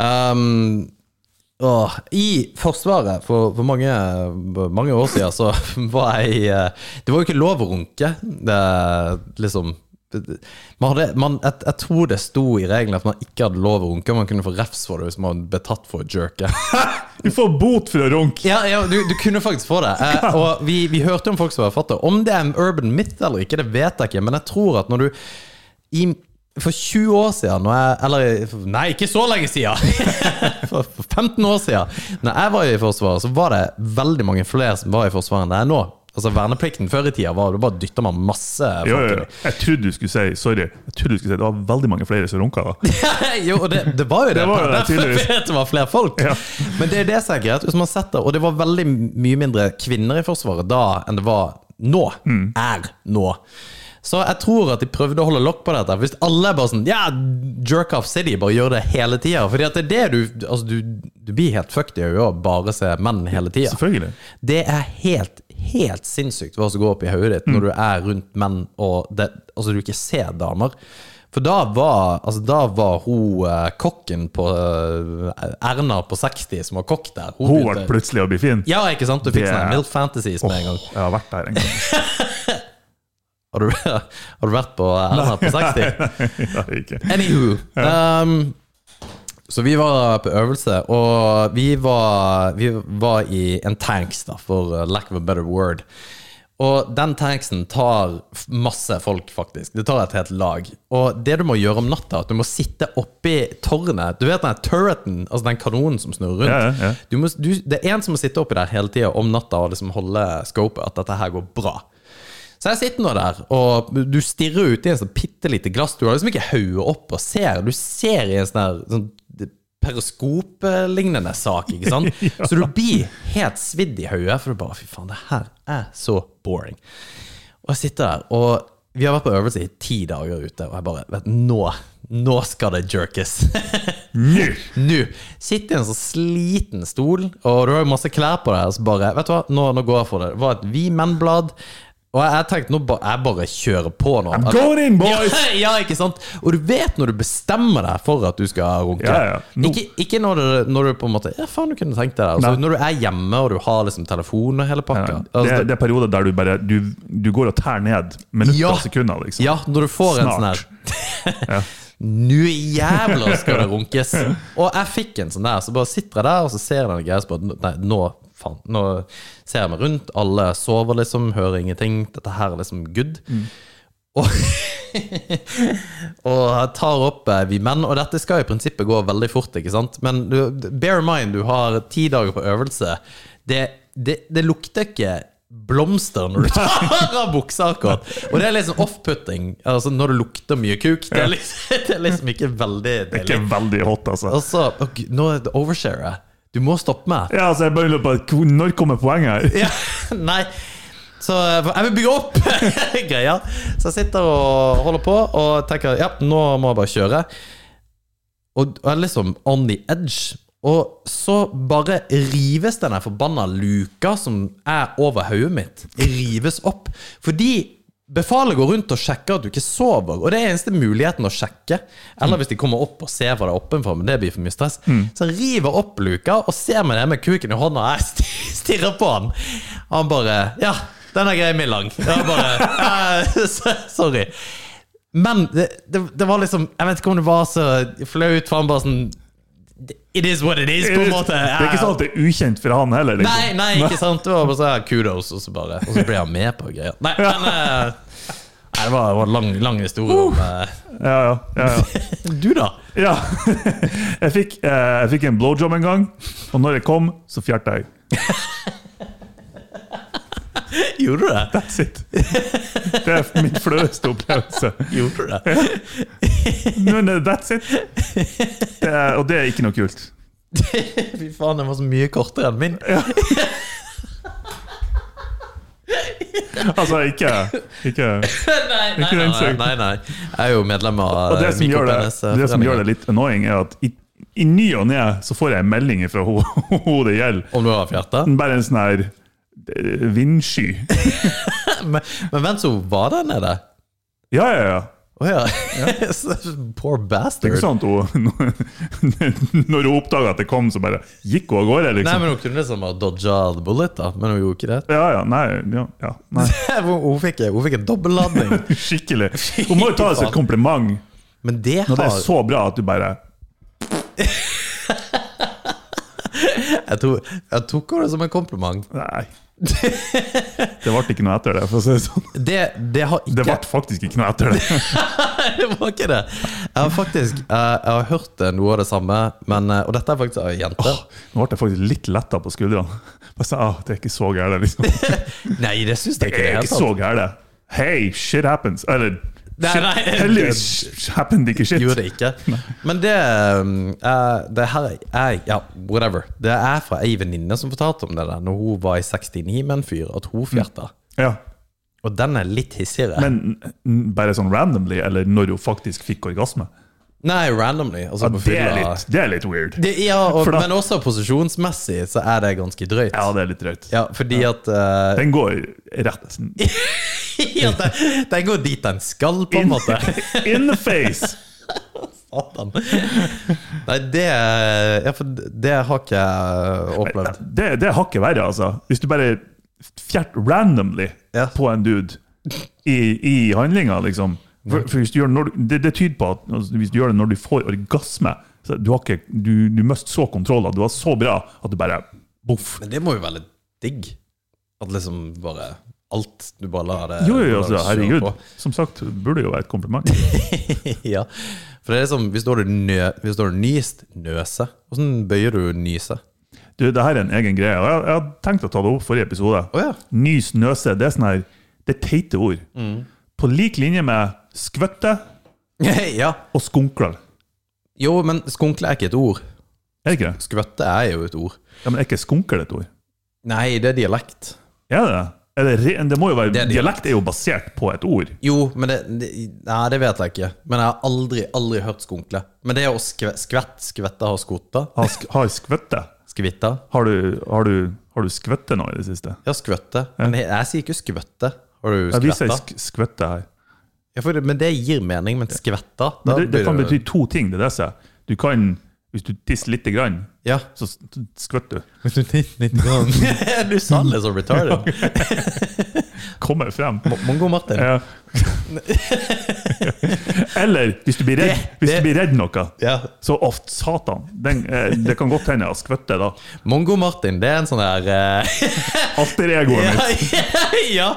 Speaker 3: Um, åh, I Forsvaret, for, for mange, mange år siden, så var jeg i eh, Det var jo ikke lov å runke. Det, liksom man hadde, man, jeg, jeg tror det sto i reglene at man ikke hadde lov å runke. og Man kunne få refs for det hvis man ble tatt for å jerke.
Speaker 2: Du får bot for å runke!
Speaker 3: Ja, ja du, du kunne faktisk få det. Eh, og vi, vi hørte om folk som var fattige. Om det er en urban myth eller ikke, det vet jeg ikke, men jeg tror at når du i, For 20 år siden, når jeg, eller Nei, ikke så lenge siden! For for 15 år siden, når jeg var i Forsvaret, så var det veldig mange flere som var i Forsvaret enn det er nå. Altså Verneplikten før i tida var det bare dytta man masse folk
Speaker 2: Jo, jo,
Speaker 3: i.
Speaker 2: jo. Jeg trodde du skulle si sorry. Jeg trodde du skulle si Det var veldig mange flere som runka da.
Speaker 3: jo, og det, det var jo det.
Speaker 2: Det var jo det,
Speaker 3: Derfor
Speaker 2: tydeligvis.
Speaker 3: vet det var flere folk.
Speaker 2: Ja.
Speaker 3: Men det er det som er greit. Hvis man setter, og det var veldig mye mindre kvinner i Forsvaret da enn det var nå.
Speaker 2: Mm.
Speaker 3: Er nå. Så jeg tror at de prøvde å holde lokk på dette. Hvis alle er bare sånn Ja, jerk off city, bare gjør det hele tida. Fordi at det er det du Altså, du, du blir helt fucked i øyet av bare å se menn hele tida.
Speaker 2: Selvfølgelig.
Speaker 3: Det er helt, helt sinnssykt hva som går opp i hodet ditt
Speaker 2: Mm.
Speaker 3: når du er rundt menn og det, altså du ikke ser damer. For da var, altså da var hun eh, kokken på eh, Erna på 60 som var kokk der.
Speaker 2: Hun
Speaker 3: begynte-
Speaker 2: ble plutselig å bli fin.
Speaker 3: Ja, ikke sant? Du fikk
Speaker 2: Det-
Speaker 3: sånn Milf Fantasies med en gang.
Speaker 2: Åh, jeg har vært der en gang.
Speaker 3: Har du, har du vært på eh, Erna på 60?
Speaker 2: Det har jeg ikke.
Speaker 3: Anywho. Um, så vi var på øvelse, og vi var, vi var i en tanks, da, for uh, lack of a better word. Og den tanksen tar f- masse folk, faktisk. Det tar et helt lag. Og det du må gjøre om natta, at du må sitte oppi tårnet Du vet den turreten, altså den kanonen som snurrer rundt?
Speaker 2: Ja, ja, ja.
Speaker 3: Du må, du, det er en som må sitte oppi der hele tida om natta og liksom holde scopet at dette her går bra. Så Så jeg sitter nå der, og du stirrer ut i en sånn bitte lite glass. Du har liksom ikke hodet opp og ser. Du ser i en sånn her sånn periskoplignende sak, ikke sant? Så du blir helt svidd i hodet, for du bare Fy faen, det her er så boring. Og jeg sitter der, og vi har vært på øvelse i ti dager ute, og jeg bare vet, du, Nå nå skal det jerkes.
Speaker 2: Nå!
Speaker 3: nå! Sitter i en sånn sliten stol, og du har jo masse klær på deg, og så bare Vet du hva, nå, nå går jeg for det. Det var et Vi menn-blad. Og jeg, jeg tenkte nå ba, jeg bare kjører på nå.
Speaker 2: I'm going in, boys!
Speaker 3: Ja, ja, ikke sant? Og du vet når du bestemmer deg for at du skal runke.
Speaker 2: Ja, ja. Nå.
Speaker 3: Ikke, ikke når, du, når du på en måte Ja, faen, du kunne tenkt deg det. Altså,
Speaker 2: Nei.
Speaker 3: når du er hjemme og du har liksom telefon og hele pakka.
Speaker 2: Det,
Speaker 3: Altså,
Speaker 2: det er perioder der du bare Du, du går og tær ned minutter
Speaker 3: Ja.
Speaker 2: og sekunder, liksom.
Speaker 3: ja, når du får en sånn
Speaker 2: Snart.
Speaker 3: her Nå jævla skal det runkes! Og jeg fikk en sånn der, så bare sitter jeg der og så ser jeg den greia og så bare Nei, nå faen. Nå ser jeg meg rundt, alle sover liksom, hører ingenting. Dette her er liksom good.
Speaker 2: Mm.
Speaker 3: Og, og jeg tar opp eh, Vi menn, og dette skal i prinsippet gå veldig fort, ikke sant? Men du, bear in mind, du har ti dager på øvelse. Det, det, det lukter ikke blomster når du tar av buksa akkurat. Og det er liksom off-putting. Altså når det lukter mye kuk. Det er liksom, det er liksom ikke veldig
Speaker 2: Det er
Speaker 3: deilig.
Speaker 2: ikke veldig hot, altså.
Speaker 3: Altså, å, Gud, nå er det overshare jeg. Du må stoppe meg.
Speaker 2: Ja, altså, jeg bare lurer på hvor- Når kommer poenget her?
Speaker 3: Ja, nei Så eh, jeg vil bygge opp greia Så jeg sitter og holder på Og tenker, ja, nå må jeg bare kjøre Og og jeg er liksom on the edge Og så bare rives denne forbanna luka Som er over hodet mitt Rives opp Fordi befalet går rundt og sjekker at du ikke sover Og det er eneste muligheten å sjekke Eller hvis de kommer opp og ser hva det er oppen for Men det blir for mye stress Så jeg river opp luka og ser meg det med kuken i hånda Jeg st- stirrer på han Og han bare, ja, den er grei min lang Jeg bare, eh, sorry men det, det, det var liksom Jeg vet ikke om det var så flaut, for han bare sånn It is what it is, på en måte.
Speaker 2: Det er ikke sånn at det er ukjent for han heller. Liksom.
Speaker 3: Nei, nei, ikke sant. Det var bare sånn kudos, og så bare Og så ble han med på greia. Nei, men eh, Nei, det var, det var en lang, lang historie
Speaker 2: Uh.
Speaker 3: om eh,
Speaker 2: Ja, ja, ja, ja.
Speaker 3: Du, da?
Speaker 2: Ja. Jeg fikk, eh, jeg fikk en blowjob en gang, og når jeg kom, så fjerta jeg.
Speaker 3: Gjorde du det?
Speaker 2: That's it. Det er min flaueste opplevelse.
Speaker 3: Gjorde du det?
Speaker 2: Men eh, that's it. Det er, og det er ikke noe kult.
Speaker 3: Fy faen, den var så mye kortere enn min.
Speaker 2: Altså, ikke, ikke.
Speaker 3: Nei, nei, nei, nei, nei, nei. Jeg er jo medlem av eh,
Speaker 2: Og det som, gjør det, det som gjør det litt annoying, er at i, i ny og ne så får jeg en melding fra hun hun det gjelder.
Speaker 3: Om du har fjerta?
Speaker 2: Bare en sånn her eh, vindsky.
Speaker 3: Men, men hvem som var der nede?
Speaker 2: Ja, ja, ja.
Speaker 3: Å ja. Poor
Speaker 2: Det er
Speaker 3: bastard.
Speaker 2: ikke sånn at hun Når hun oppdaga at det kom, så bare gikk hun av gårde,
Speaker 3: Nei,
Speaker 2: liksom.
Speaker 3: men hun kunne liksom ha dodga the bullet, da. Men hun gjorde ikke det.
Speaker 2: Ja, ja, nei, ja, ja, nei.
Speaker 3: hun, hun fikk, hun fikk en dobbeltladning.
Speaker 2: Skikkelig. Hun må jo ta seg et kompliment
Speaker 3: Men det
Speaker 2: når det er
Speaker 3: har
Speaker 2: så bra at du bare
Speaker 3: jeg, tror, jeg tok henne som en kompliment.
Speaker 2: Nei. Det ble ikke noe etter det, for å si det sånn.
Speaker 3: Det, det har ikke
Speaker 2: Det ble faktisk ikke noe etter det.
Speaker 3: det var ikke det. Jeg har faktisk eh, Jeg har hørt eh, noe av det samme, men, eh, og dette er faktisk av ei jente.
Speaker 2: Nå ble jeg faktisk litt letta på skuldrene. Bare sa, ah, Det er ikke så gærent, liksom.
Speaker 3: Nei, det syns jeg
Speaker 2: Det
Speaker 3: ikke.
Speaker 2: er
Speaker 3: helt
Speaker 2: ikke så
Speaker 3: sant.
Speaker 2: gærent. Hey, shit happens. Eller
Speaker 3: Nei,
Speaker 2: shit-
Speaker 3: nei.
Speaker 2: Heldigvis sh- happened ikke shit.
Speaker 3: Gjorde det ikke. Men det um, eh, Det her er Ja, whatever. Det er fra ei venninne som fortalte om det der Når hun var i 69 med en fyr, at
Speaker 2: Mm.
Speaker 3: hun fjerta.
Speaker 2: Ja.
Speaker 3: Og den er litt hissigere.
Speaker 2: Men n- bare sånn randomly, eller når hun faktisk fikk orgasme.
Speaker 3: Nei, randomly. Altså
Speaker 2: Ja,
Speaker 3: på
Speaker 2: det, er
Speaker 3: fylla.
Speaker 2: litt, det er litt weird.
Speaker 3: Det, ja, og,
Speaker 2: For da-
Speaker 3: men også posisjonsmessig så er det ganske drøyt.
Speaker 2: Ja,
Speaker 3: Ja,
Speaker 2: det er litt drøyt.
Speaker 3: fordi at eh,
Speaker 2: Den går rett
Speaker 3: at den, den går dit den skal, på en
Speaker 2: in,
Speaker 3: måte.
Speaker 2: in the face!
Speaker 3: Satan. Nei, det Ja, for det har ikke jeg opplevd.
Speaker 2: Det, det har ikke verre, altså. Hvis du bare fjerter randomly
Speaker 3: Ja.
Speaker 2: på en dude i, i handlinga, liksom. For, for hvis du gjør det, når, du- det, det tyder på at altså, hvis du gjør det når du får orgasme så du, har ikke, du, du mist så kontroll, at du var så bra at du bare boff.
Speaker 3: Men det må jo være litt digg. At liksom bare alt Du bare lar det
Speaker 2: Jo, jo, jo,
Speaker 3: lar det
Speaker 2: altså,
Speaker 3: kjøre
Speaker 2: herregud.
Speaker 3: på.
Speaker 2: Som sagt, det burde jo være et kompliment.
Speaker 3: ja. For det er liksom Hvis du har nø, hvis du har nyst, nøse. Åssen bøyer du nyse?
Speaker 2: Du, det her er en egen greie. og Jeg, jeg hadde tenkt å ta det opp forrige episode.
Speaker 3: Å ja. Mm.
Speaker 2: Nys nøse, det er sånn her Det er teite ord. På lik linje med skvøtte
Speaker 3: ja.
Speaker 2: og skunkler.
Speaker 3: Jo, men skunkle er ikke et ord.
Speaker 2: Er det ikke det?
Speaker 3: Skvøtte er jo et ord.
Speaker 2: Ja, men er ikke skunkel et ord?
Speaker 3: Nei, det er dialekt.
Speaker 2: Er det det? Er det, re- det må jo være,
Speaker 3: Det er dialekt.
Speaker 2: dialekt er jo basert på et ord.
Speaker 3: Jo, men det, det Nei, det vet jeg ikke. Men jeg har aldri, aldri hørt skunkle. Men det å skve, skvett, skvette har skvota.
Speaker 2: Har, sk har skvøtte?
Speaker 3: Skvitta.
Speaker 2: Har du, har du, har du skvøtte nå i det siste?
Speaker 3: Ja, skvøtte. Men jeg, jeg sier ikke skvøtte. Har du
Speaker 2: Ja, vi sier
Speaker 3: skvetta?
Speaker 2: sk skvøtte her.
Speaker 3: Ja, for, det- men det gir mening, men skvetta da
Speaker 2: Men det, det
Speaker 3: blir
Speaker 2: kan
Speaker 3: jo-
Speaker 2: bety to ting. det er det jeg sier. Du kan, Hvis du tisser lite grann,
Speaker 3: Ja.
Speaker 2: så s- skvøtter du.
Speaker 3: Hvis du Du sa det så retarded.
Speaker 2: Kommer frem.
Speaker 3: Mongo Martin.
Speaker 2: Ja. Eller hvis du blir redd,
Speaker 3: Det-
Speaker 2: hvis
Speaker 3: det-
Speaker 2: du blir redd noe.
Speaker 3: Ja.
Speaker 2: Så oft satan. Den, eh, det kan godt hende jeg skvøtter da.
Speaker 3: Mongo Martin, det er en sånn der eh,
Speaker 2: Alter egoet mitt.
Speaker 3: ja!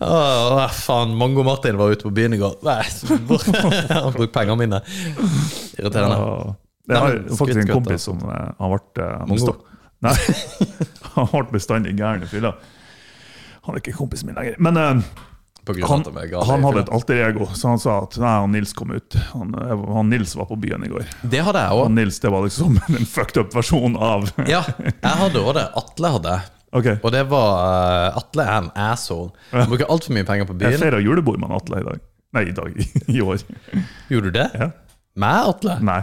Speaker 3: Åh, faen, Mongo Martin var ute på byen i går. Nei, Han brukte pengene mine. Irriterende.
Speaker 2: Og
Speaker 3: Nei,
Speaker 2: Jeg har
Speaker 3: men
Speaker 2: faktisk en
Speaker 3: skvitt-skvett,
Speaker 2: kompis som eh, han ble eh, han
Speaker 3: Mongo.
Speaker 2: bestå- Nei, han ble bestandig gæren i fylla. Han er ikke kompisen min lenger. Men eh,
Speaker 3: På grunn
Speaker 2: han,
Speaker 3: av at de er gale.
Speaker 2: han hadde et alter ego, så han sa at nei, han Nils kom ut. Han, eh, han Nils var på byen i går.
Speaker 3: Det hadde jeg
Speaker 2: Og
Speaker 3: òg.
Speaker 2: Nils det var liksom en fucked up versjon av
Speaker 3: Ja, jeg hadde òg det. Atle hadde.
Speaker 2: Ok,
Speaker 3: Og det var eh, Atle er en asshole. Han bruker altfor mye penger på
Speaker 2: Jeg
Speaker 3: byen.
Speaker 2: feira julebord med han Atle i dag. Nei, i dag. I år.
Speaker 3: Gjorde du det?
Speaker 2: Ja.
Speaker 3: Med Atle?
Speaker 2: Nei.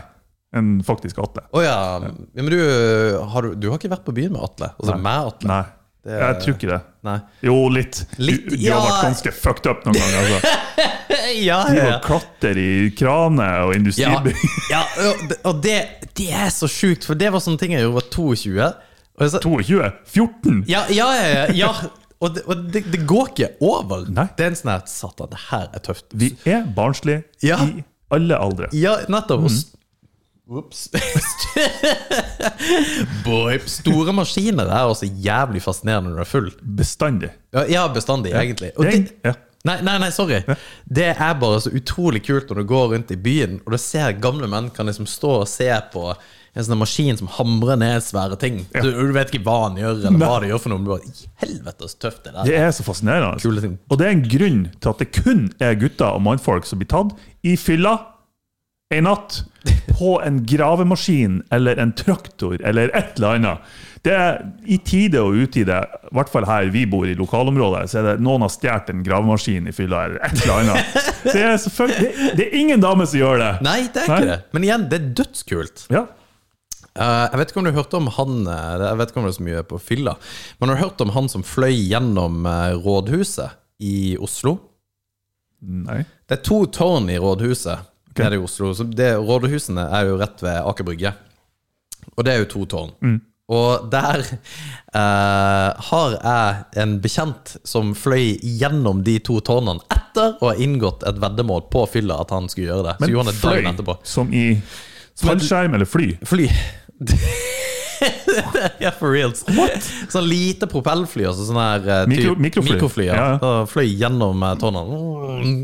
Speaker 2: En faktisk Atle.
Speaker 3: Å ja. ja. Men du eh, har, du, du har ikke vært på byen med Atle? Altså med Atle?
Speaker 2: Nei.
Speaker 3: Det-
Speaker 2: Jeg tror ikke det.
Speaker 3: Nei.
Speaker 2: Jo, litt.
Speaker 3: Litt,
Speaker 2: du, du har
Speaker 3: ja.
Speaker 2: vært ganske fucked up noen ganger. Altså.
Speaker 3: Ja,
Speaker 2: Du
Speaker 3: ja.
Speaker 2: og klatre i kraner og
Speaker 3: ja,
Speaker 2: industribygg.
Speaker 3: ja og det- og det, det er så sjukt, for det var sånne ting jeg gjorde da jeg var 22. Og jeg sa,
Speaker 2: 22? 14?
Speaker 3: ja, ja, ja, ja, ja. Og, det, og det, det går ikke over.
Speaker 2: Nei.
Speaker 3: Det er en sånn her Satan, det her er tøft.
Speaker 2: Vi er barnslige
Speaker 3: Ja.
Speaker 2: i alle aldre.
Speaker 3: Ja, nettopp. Mm.
Speaker 2: Mhm.
Speaker 3: Ops. Boy, store maskiner er også jævlig fascinerende når du er full.
Speaker 2: Bestandig.
Speaker 3: Ja, ja bestandig, egentlig. Og
Speaker 2: Det-
Speaker 3: det-
Speaker 2: ja.
Speaker 3: Nei, nei, nei, sorry. Det er bare så utrolig kult når du går rundt i byen og du ser gamle menn kan liksom stå og se på en sånn maskin som hamrer ned svære ting. Du, du vet ikke hva han gjør, eller hva det gjør for noe. Men du bare, "I helvete, så tøft det der.
Speaker 2: Det er så fascinerende.
Speaker 3: Kule ting.
Speaker 2: Og det er en grunn til at det kun er gutter og mannfolk som blir tatt i fylla en natt på en gravemaskin eller en traktor eller et eller annet. Det er i tide og utide, i hvert fall her vi bor i lokalområdet, så er det noen har stjålet en gravemaskin i fylla eller et eller annet. Det er, selvfølgelig- det, det er ingen dame som gjør det.
Speaker 3: Nei, det er
Speaker 2: Nei.
Speaker 3: ikke det. Men igjen, det er dødskult.
Speaker 2: Ja.
Speaker 3: Eh, jeg vet ikke om du hørte om han eh, Jeg vet ikke om det er så mye på fylla, men har du hørt om han som fløy gjennom eh, rådhuset i Oslo?
Speaker 2: Nei.
Speaker 3: Det er to tårn i rådhuset nede i Oslo. Så det, rådhusene er jo rett ved Aker Brygge. Og det er jo to tårn. Og der eh, har jeg en bekjent som fløy gjennom de to tårnene etter å ha inngått et veddemål på fylla at han skulle gjøre det. så gjorde han det dagen etterpå.
Speaker 2: som i fallskjerm eller fly?
Speaker 3: Fly. ja, for reals. Sånn lite propellfly, altså sånn her eh,
Speaker 2: Mikro-
Speaker 3: typ-
Speaker 2: mikrofly.
Speaker 3: mikrofly ja.
Speaker 2: Ja, ja.
Speaker 3: Da Fløy gjennom eh, tårnene.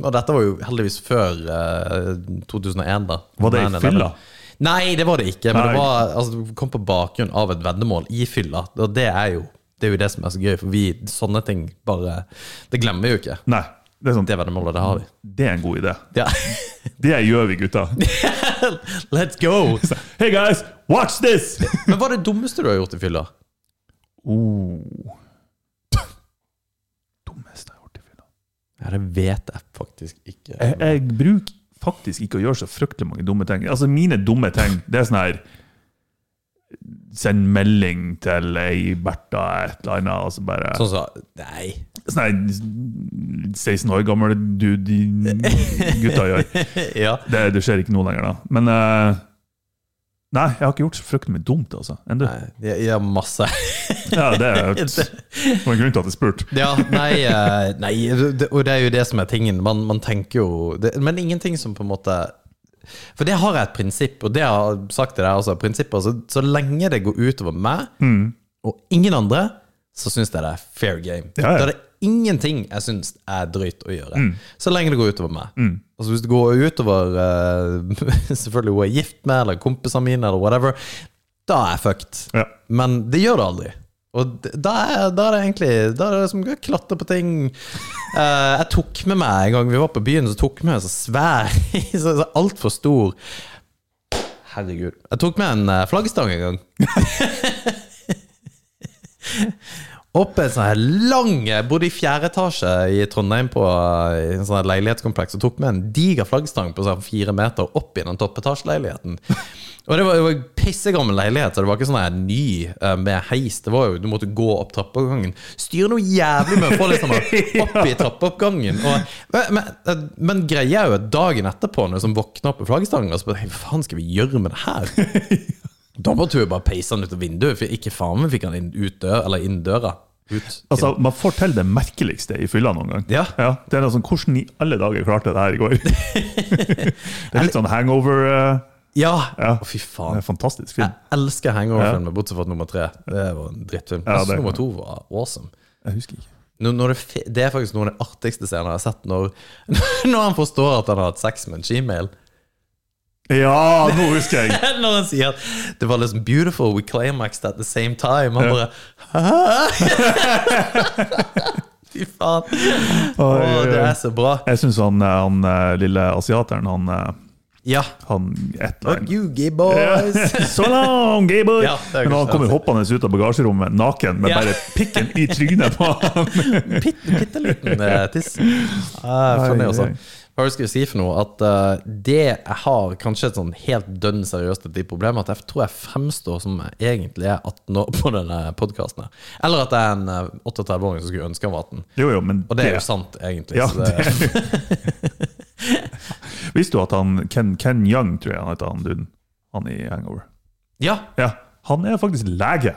Speaker 3: Og dette var jo heldigvis før eh, 2001, da.
Speaker 2: Var det i
Speaker 3: Nei, nei,
Speaker 2: fylla?
Speaker 3: nei. Nei, det var det ikke. Men
Speaker 2: Nei.
Speaker 3: det var, altså, det kom på bakgrunn av et veddemål i fylla. Og det er jo det, er jo det som er så gøy, for vi sånne ting bare Det glemmer vi jo ikke.
Speaker 2: Nei. Det er, sånn,
Speaker 3: Det veddemålet, det har vi.
Speaker 2: det er en god idé.
Speaker 3: Ja.
Speaker 2: Det gjør vi, gutta.
Speaker 3: Let's go!
Speaker 2: Hey guys, watch this!
Speaker 3: Men hva er det dummeste du har gjort i fylla?
Speaker 2: Oh. Dummeste jeg har gjort i fylla.
Speaker 3: Ja, Det vet jeg faktisk ikke.
Speaker 2: Jeg, jeg bruker faktisk ikke å gjøre så fryktelig mange dumme ting. Altså, mine dumme ting, det er sånn her Send melding til ei Bertha et eller annet, og så bare
Speaker 3: Sånn sa Nei.
Speaker 2: Sånn her 16 år gammel dude i- gutta gjør.
Speaker 3: ja.
Speaker 2: Det, det skjer ikke nå lenger, da. Men eh, Nei, jeg har ikke gjort så fryktelig mye dumt, altså. Enn du?
Speaker 3: Nei, jeg, jeg har masse.
Speaker 2: Ja, det er det var en grunn til at jeg spurte.
Speaker 3: Ja, nei, eh, nei det, Og det er jo det som er tingen. Man, man tenker jo det, Men ingenting som på en måte For det har jeg et prinsipp, og det har jeg sagt til deg også. Prinsippet, altså, så lenge det går utover meg
Speaker 2: Mm.
Speaker 3: og ingen andre, så syns jeg det er fair game.
Speaker 2: Ja, ja.
Speaker 3: Da er det ingenting jeg syns er drøyt å gjøre. Så lenge det går utover meg. Altså Hvis det går utover eh, selvfølgelig hun jeg er gift med, eller kompisene mine, eller whatever, da er jeg fucked.
Speaker 2: Ja.
Speaker 3: Men det gjør det aldri. Og d- da er, da er det egentlig Da er det som å klatre på ting. Eh, jeg tok med meg en gang vi var på byen, så tok jeg med en så svær, så så altfor stor Herregud. Jeg tok med en eh, flaggstang en gang. Opp en sånn her lang Jeg bodde i fjerde etasje i Trondheim på eh, i en sånn her leilighetskompleks og tok med en diger flaggstang på sånn fire meter opp i den toppetasjeleiligheten. Og det var jo en pissegammel leilighet, så det var ikke sånn her ny eh, med heis. Det var jo, Du måtte gå opp trappeoppgangen. Styr noe jævlig med å få liksom opp i trappeoppgangen. Og, men, men, men greia er jo at dagen etterpå, når du liksom våkner opp med flaggstangen, og så bare Hva faen skal vi gjøre med det her? Da måtte vi jo bare peise han ut av vinduet, for ikke faen meg fikk han inn, ut døra, eller inn døra. Ut.
Speaker 2: Altså, Man får til det merkeligste i fylla noen gang.
Speaker 3: Ja.
Speaker 2: det er noe sånn, Hvordan i alle dager klarte jeg det her i går? det er litt sånn hangover eh,
Speaker 3: Ja!
Speaker 2: ja.
Speaker 3: Å, fy
Speaker 2: Det er
Speaker 3: faen.
Speaker 2: en fantastisk
Speaker 3: Jeg
Speaker 2: film.
Speaker 3: elsker hangover-filmer, bortsett fra nummer tre. Det var en drittfilm.
Speaker 2: Ja, det
Speaker 3: Jeg synes nummer
Speaker 2: kan
Speaker 3: to var awesome.
Speaker 2: Jeg husker ikke.
Speaker 3: Når, når det, fe- det er faktisk noen av de artigste scenene jeg har sett, når, når han forstår at han har hatt sex med en gmail.
Speaker 2: Ja, nå husker jeg!
Speaker 3: Når han sier at det var liksom 'beautiful, we climaxed at the same time'. Han bare Hæ? Fy faen.
Speaker 2: Oi,
Speaker 3: Å,
Speaker 2: oi, oi.
Speaker 3: det er så bra.
Speaker 2: Jeg syns han, eh, han eh, lille asiateren, han, eh,
Speaker 3: Ja.
Speaker 2: han et eller
Speaker 3: Fuck
Speaker 2: annet
Speaker 3: you, gay boys.
Speaker 2: So long, gay boy!
Speaker 3: Ja, det er
Speaker 2: Men han
Speaker 3: kanskje
Speaker 2: kommer
Speaker 3: det.
Speaker 2: hoppende ut av bagasjerommet naken med
Speaker 3: Ja.
Speaker 2: bare pikken i trynet på han.
Speaker 3: Bitte, bitte liten eh, tiss. Ah, funny
Speaker 2: Ai,
Speaker 3: også.
Speaker 2: ai.
Speaker 3: Hva var det jeg skulle si for noe? At eh, det jeg har kanskje et sånn helt dønn seriøst et problem, at jeg tror jeg fremstår som jeg egentlig er 18 år på denne podkasten. Eller at jeg er en eh, 38-åring som skulle ønske jeg var 18.
Speaker 2: Jo, jo, men
Speaker 3: Og det er jo sant, egentlig.
Speaker 2: Ja,
Speaker 3: så det,
Speaker 2: Visste du at han, Ken, Ken Young, tror jeg han heter, han duden, han i Hangover?
Speaker 3: ja
Speaker 2: Ja, han er faktisk lege.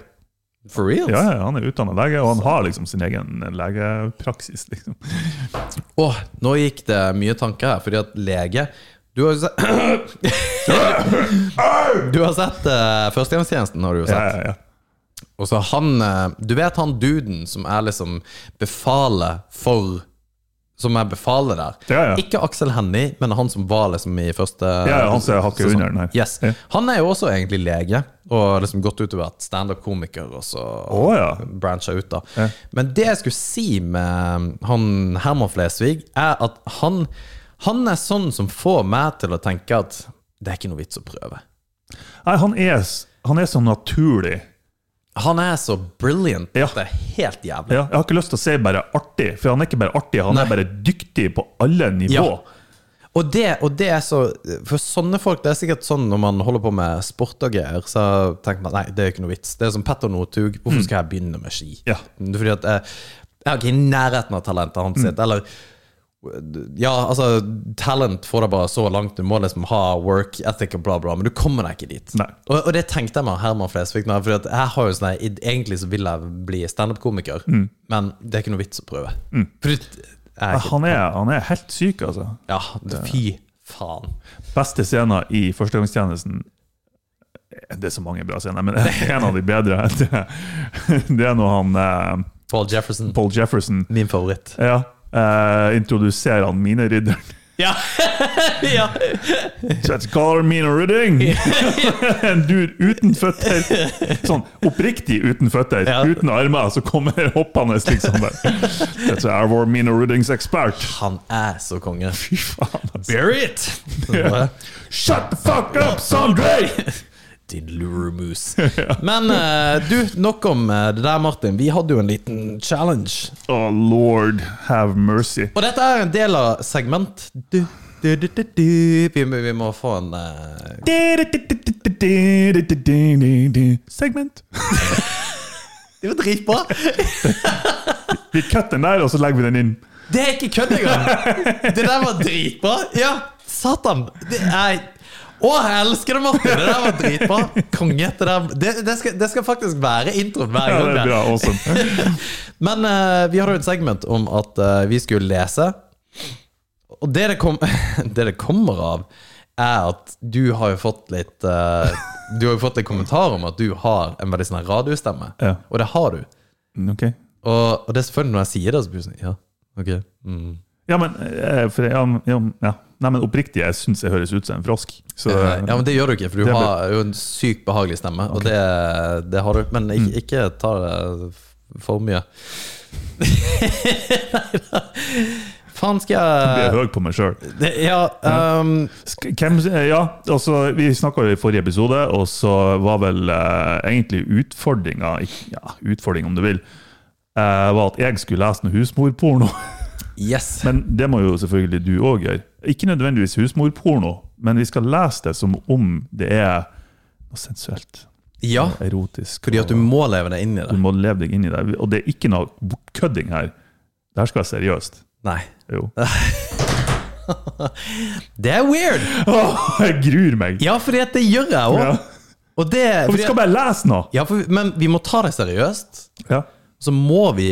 Speaker 3: for real.
Speaker 2: Ja, ja, han er utdannet lege, og han har liksom sin egen legepraksis. liksom.
Speaker 3: Åh, nå gikk det mye tanker her, fordi at lege Du har jo sett Du har sett eh, Førstegangstjenesten, har du jo
Speaker 2: Ja,
Speaker 3: sett.
Speaker 2: ja, ja.
Speaker 3: Og så han eh, Du vet han duden som er liksom befalet for Som er befalet der?
Speaker 2: Ja, ja.
Speaker 3: Ikke Aksel Hennie, men han som var liksom i første
Speaker 2: Ja, ja, han som er hakket
Speaker 3: sesong.
Speaker 2: under den her.
Speaker 3: Yes.
Speaker 2: Ja.
Speaker 3: Han er jo også egentlig lege, og liksom gått ut og vært standup-komiker, og så
Speaker 2: Å, ja.
Speaker 3: brancha ut, da. Men det jeg skulle si med han Herman Flesvig, er at han, han er sånn som får meg til å tenke at det er ikke noe vits å prøve.
Speaker 2: Nei, han er, s- han er så naturlig.
Speaker 3: Han er så brilliant.
Speaker 2: Ja.
Speaker 3: Det er helt jævlig.
Speaker 2: Ja, jeg har ikke lyst til å si bare artig, for han er ikke bare artig, han er bare dyktig på alle nivå.
Speaker 3: Og det, og det er så For sånne folk, det er sikkert sånn når man holder på med sport og greier, så tenker man nei, det er jo ikke noe vits. Det er som Petter Northug. Hvorfor skal jeg begynne med ski?
Speaker 2: Mm. Ja.
Speaker 3: Det er Fordi at jeg, jeg har ikke i nærheten av talentet
Speaker 2: Mm.
Speaker 3: hans sitt. Eller ja, altså, talent får deg bare så langt. Du må liksom ha work ethic og bla, bla, men du kommer deg ikke dit.
Speaker 2: Nei.
Speaker 3: Og, og det tenkte jeg med Herman Flesvig. nå, Fordi at jeg har jo sånn her, Egentlig så vil jeg bli standup-komiker,
Speaker 2: Mm.
Speaker 3: men det er ikke noe vits å prøve. Fordi eh, jeg er ikke,
Speaker 2: Han er, han er helt syk, altså.
Speaker 3: Ja, fy faen.
Speaker 2: Beste scenen i Førstegangstjenesten Det er så mange bra scener, men en av de bedre, det, det er når han eh,
Speaker 3: Paul Jefferson.
Speaker 2: Paul Jefferson
Speaker 3: Min favoritt.
Speaker 2: ja, eh, introduserer han minerydderen.
Speaker 3: Ja! ja.
Speaker 2: Let's call her Mina Rydding! en dude uten føtter. Sånn oppriktig uten føtter,
Speaker 3: Ja.
Speaker 2: uten armer, så kommer hoppende liksom der. That's our war Mina Ryddings expert.
Speaker 3: Han er så konge.
Speaker 2: Fy faen, altså.
Speaker 3: Bury it!
Speaker 2: Shut the fuck up, Sondre!
Speaker 3: Din luremus. Men eh, du, nok om eh, det der, Martin. Vi hadde jo en liten challenge.
Speaker 2: Oh lord, have mercy.
Speaker 3: Og dette er en del av segment du, du, du, du, du. Vi, må- vi må få en eh,
Speaker 2: Segment.
Speaker 3: Det var dritbra!
Speaker 2: Vi kutter den der, og så legger vi den inn.
Speaker 3: Det er ikke kødd engang! Det der var dritbra! Ja, satan! Det er å, jeg elsker det, Martin! Det der var dritbra. Konge. Det, der, det, det, skal, det skal faktisk være introen hver
Speaker 2: Ja,
Speaker 3: gang.
Speaker 2: det er bra, awesome.
Speaker 3: Men eh, vi hadde jo et segment om at eh, vi skulle lese. Og det det, kom, det det kommer av, er at du har jo fått litt eh, Du har jo fått en kommentar om at du har en veldig sånn her radiostemme.
Speaker 2: Ja.
Speaker 3: Og det har du.
Speaker 2: Ok.
Speaker 3: Og, og det er selvfølgelig når jeg sier det, så blir du sånn Ja, ok. Mm.
Speaker 2: Ja, men, eh, for, ja, men- ja, men- ja. Nei, men oppriktig, jeg syns jeg høres ut som en frosk. Så, eh,
Speaker 3: Ja, men det gjør du ikke, for du
Speaker 2: Det blir-
Speaker 3: har jo en sykt behagelig stemme, og det, det har du. Men ikke,
Speaker 2: Mm.
Speaker 3: ikke ta det for mye. Nei da. Faen, skal
Speaker 2: jeg
Speaker 3: jeg
Speaker 2: blir høy på meg sjøl.
Speaker 3: det, Ja, ehm,
Speaker 2: Hvem, ja, altså, vi snakka jo i forrige episode, og så var vel eh, egentlig utfordringa ikk- Ja, utfordring om du vil, eh, var at jeg skulle lese noe husmorporno.
Speaker 3: yes.
Speaker 2: Men det må jo selvfølgelig du òg gjøre. Ikke nødvendigvis husmorporno, men vi skal lese det som om det er noe sensuelt,
Speaker 3: Ja,
Speaker 2: erotisk.
Speaker 3: fordi at du må leve deg inn i
Speaker 2: Du
Speaker 3: det.
Speaker 2: må leve deg inn i det. Og det er ikke noe kødding her. Det her skal være seriøst.
Speaker 3: Nei.
Speaker 2: Jo.
Speaker 3: Det er weird!
Speaker 2: Åh, jeg gruer meg!
Speaker 3: Ja, fordi at det gjør jeg
Speaker 2: Ja.
Speaker 3: òg. Og det
Speaker 2: Og
Speaker 3: fordi
Speaker 2: vi skal
Speaker 3: at-
Speaker 2: bare lese noe!
Speaker 3: ja, for, Men vi må ta det seriøst.
Speaker 2: Ja.
Speaker 3: Så må vi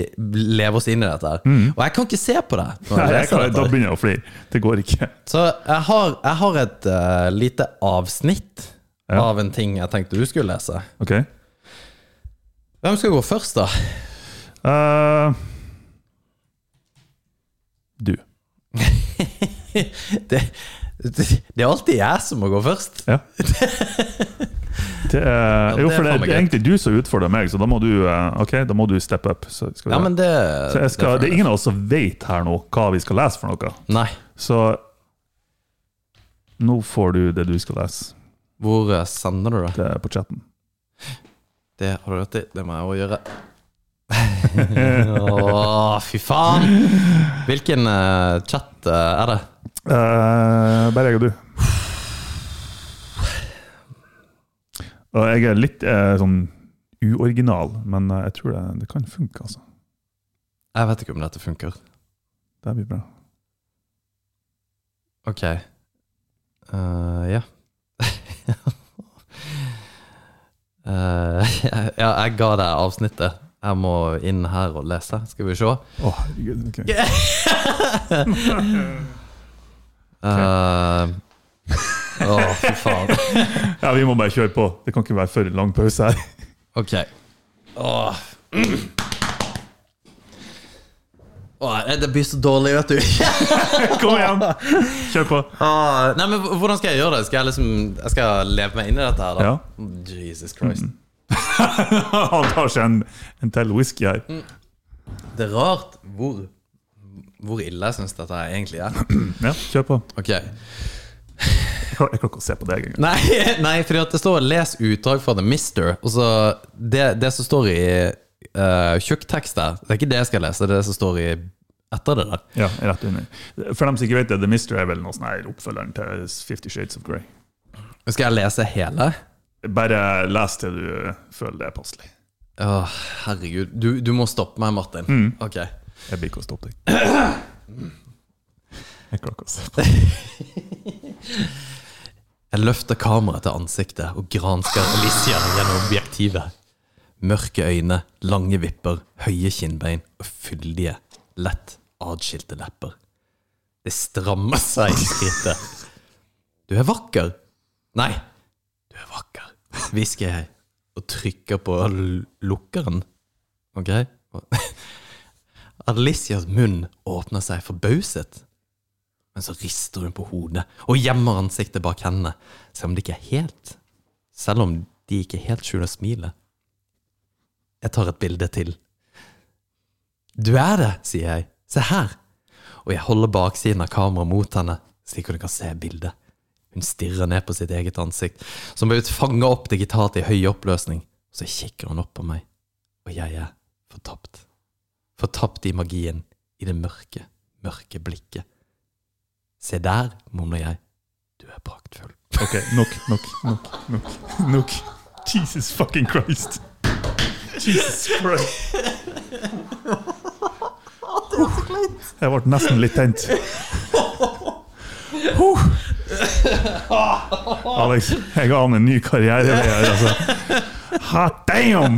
Speaker 3: leve oss inn i dette. her Og jeg kan ikke se på det.
Speaker 2: Mm.
Speaker 3: Når
Speaker 2: Nei,
Speaker 3: jeg
Speaker 2: jeg
Speaker 3: leser
Speaker 2: kan,
Speaker 3: dette.
Speaker 2: da begynner jeg å flire. Det går ikke.
Speaker 3: Så jeg har, jeg har et eh, lite avsnitt
Speaker 2: Ja.
Speaker 3: av en ting jeg tenkte du skulle lese.
Speaker 2: Ok.
Speaker 3: Hvem skal gå først, da?
Speaker 2: Eh, du.
Speaker 3: Det, det, det er alltid jeg som må gå først.
Speaker 2: Ja. Det er, jo,
Speaker 3: det er
Speaker 2: for det,
Speaker 3: faen meg
Speaker 2: det er
Speaker 3: greit.
Speaker 2: egentlig du som utfordrer meg, så da må du, eh, ok, da må du steppe up. Så skal vi
Speaker 3: Ja, men det,
Speaker 2: Så jeg skal, det
Speaker 3: det
Speaker 2: er ingen av oss som vet her nå hva vi skal lese for noe.
Speaker 3: Nei.
Speaker 2: Så nå får du det du skal lese
Speaker 3: Hvor eh, sender du det?
Speaker 2: det er på chatten.
Speaker 3: Det har du rett i. Det må jeg òg gjøre. Å, fy faen! Hvilken eh, chat eh, er det?
Speaker 2: Eh, bare jeg og du. Og jeg er litt eh, sånn uoriginal, men eh, jeg tror det, det kan funke, altså.
Speaker 3: Jeg vet ikke om dette funker.
Speaker 2: Det blir bra.
Speaker 3: Ok. Eh, ja. Eh, ja, jeg ga deg avsnittet. Jeg må inn her og lese. Skal vi se.
Speaker 2: Å, herregud. ok.
Speaker 3: Eh, Å, fy faen.
Speaker 2: Ja, vi må bare kjøre på. Det kan ikke være for lang pause her.
Speaker 3: Ok. Åh. Åh, det blir så dårlig, vet du.
Speaker 2: Kom igjen! Kjør på.
Speaker 3: Ah, nei, men h- Hvordan skal jeg gjøre det? Skal jeg liksom Jeg skal leve meg inn i dette her, da?
Speaker 2: Ja.
Speaker 3: Jesus Christ.
Speaker 2: Han tar seg en, en til whisky her.
Speaker 3: Det er rart hvor Hvor ille jeg syns dette her egentlig er.
Speaker 2: Mm, Ja, kjør på.
Speaker 3: Ok
Speaker 2: Jeg klarer jeg klarer ikke å se på deg engang.
Speaker 3: Nei, nei fordi at det står 'les utdrag fra The Mister'. Og så det, det som står i uh, tjukktekst der, det er ikke det jeg skal lese, det er det som står i etter det der.
Speaker 2: Ja, rett under. For dem som ikke vet det, The Mister er vel noe sånn her oppfølgeren til Fifty Shades of Grey.
Speaker 3: Skal jeg lese hele?
Speaker 2: Bare les til du føler det er passelig.
Speaker 3: Å, herregud. Mm. Du, du må stoppe meg, Martin. Ok.
Speaker 2: Jeg blir ikke å stoppe deg. Jeg klarer ikke å se på.
Speaker 3: Jeg løfter kameraet til ansiktet og gransker Alicia gjennom objektivet. Mørke øyne, lange vipper, høye kinnbein og fyldige, lett adskilte lepper. Det strammer seg i skrittet. Du er vakker. Nei, du er vakker, hvisker jeg og trykker på l- lukkeren. Ok? Alicias munn åpner seg forbauset. Men så rister hun på hodet og gjemmer ansiktet bak hendene, selv om det ikke er helt Selv om de ikke helt skjuler smilet. Jeg tar et bilde til. Du er det, sier jeg. Se her. Og jeg holder baksiden av kameraet mot henne, slik hun kan se bildet. Hun stirrer ned på sitt eget ansikt, som er blitt fanga opp digitalt i høy oppløsning. Så kikker hun opp på meg, og jeg er fortapt. Fortapt i magien, i det mørke, mørke blikket. Se der, mumler jeg. Du er praktfull.
Speaker 2: Ok, nok, nok, nok, nok, nok. Jesus fucking Christ. Jesus Christ. Jeg ble nesten litt tent. Huh. Alex, jeg ga han en ny karriere. her, Altså. Hot damn!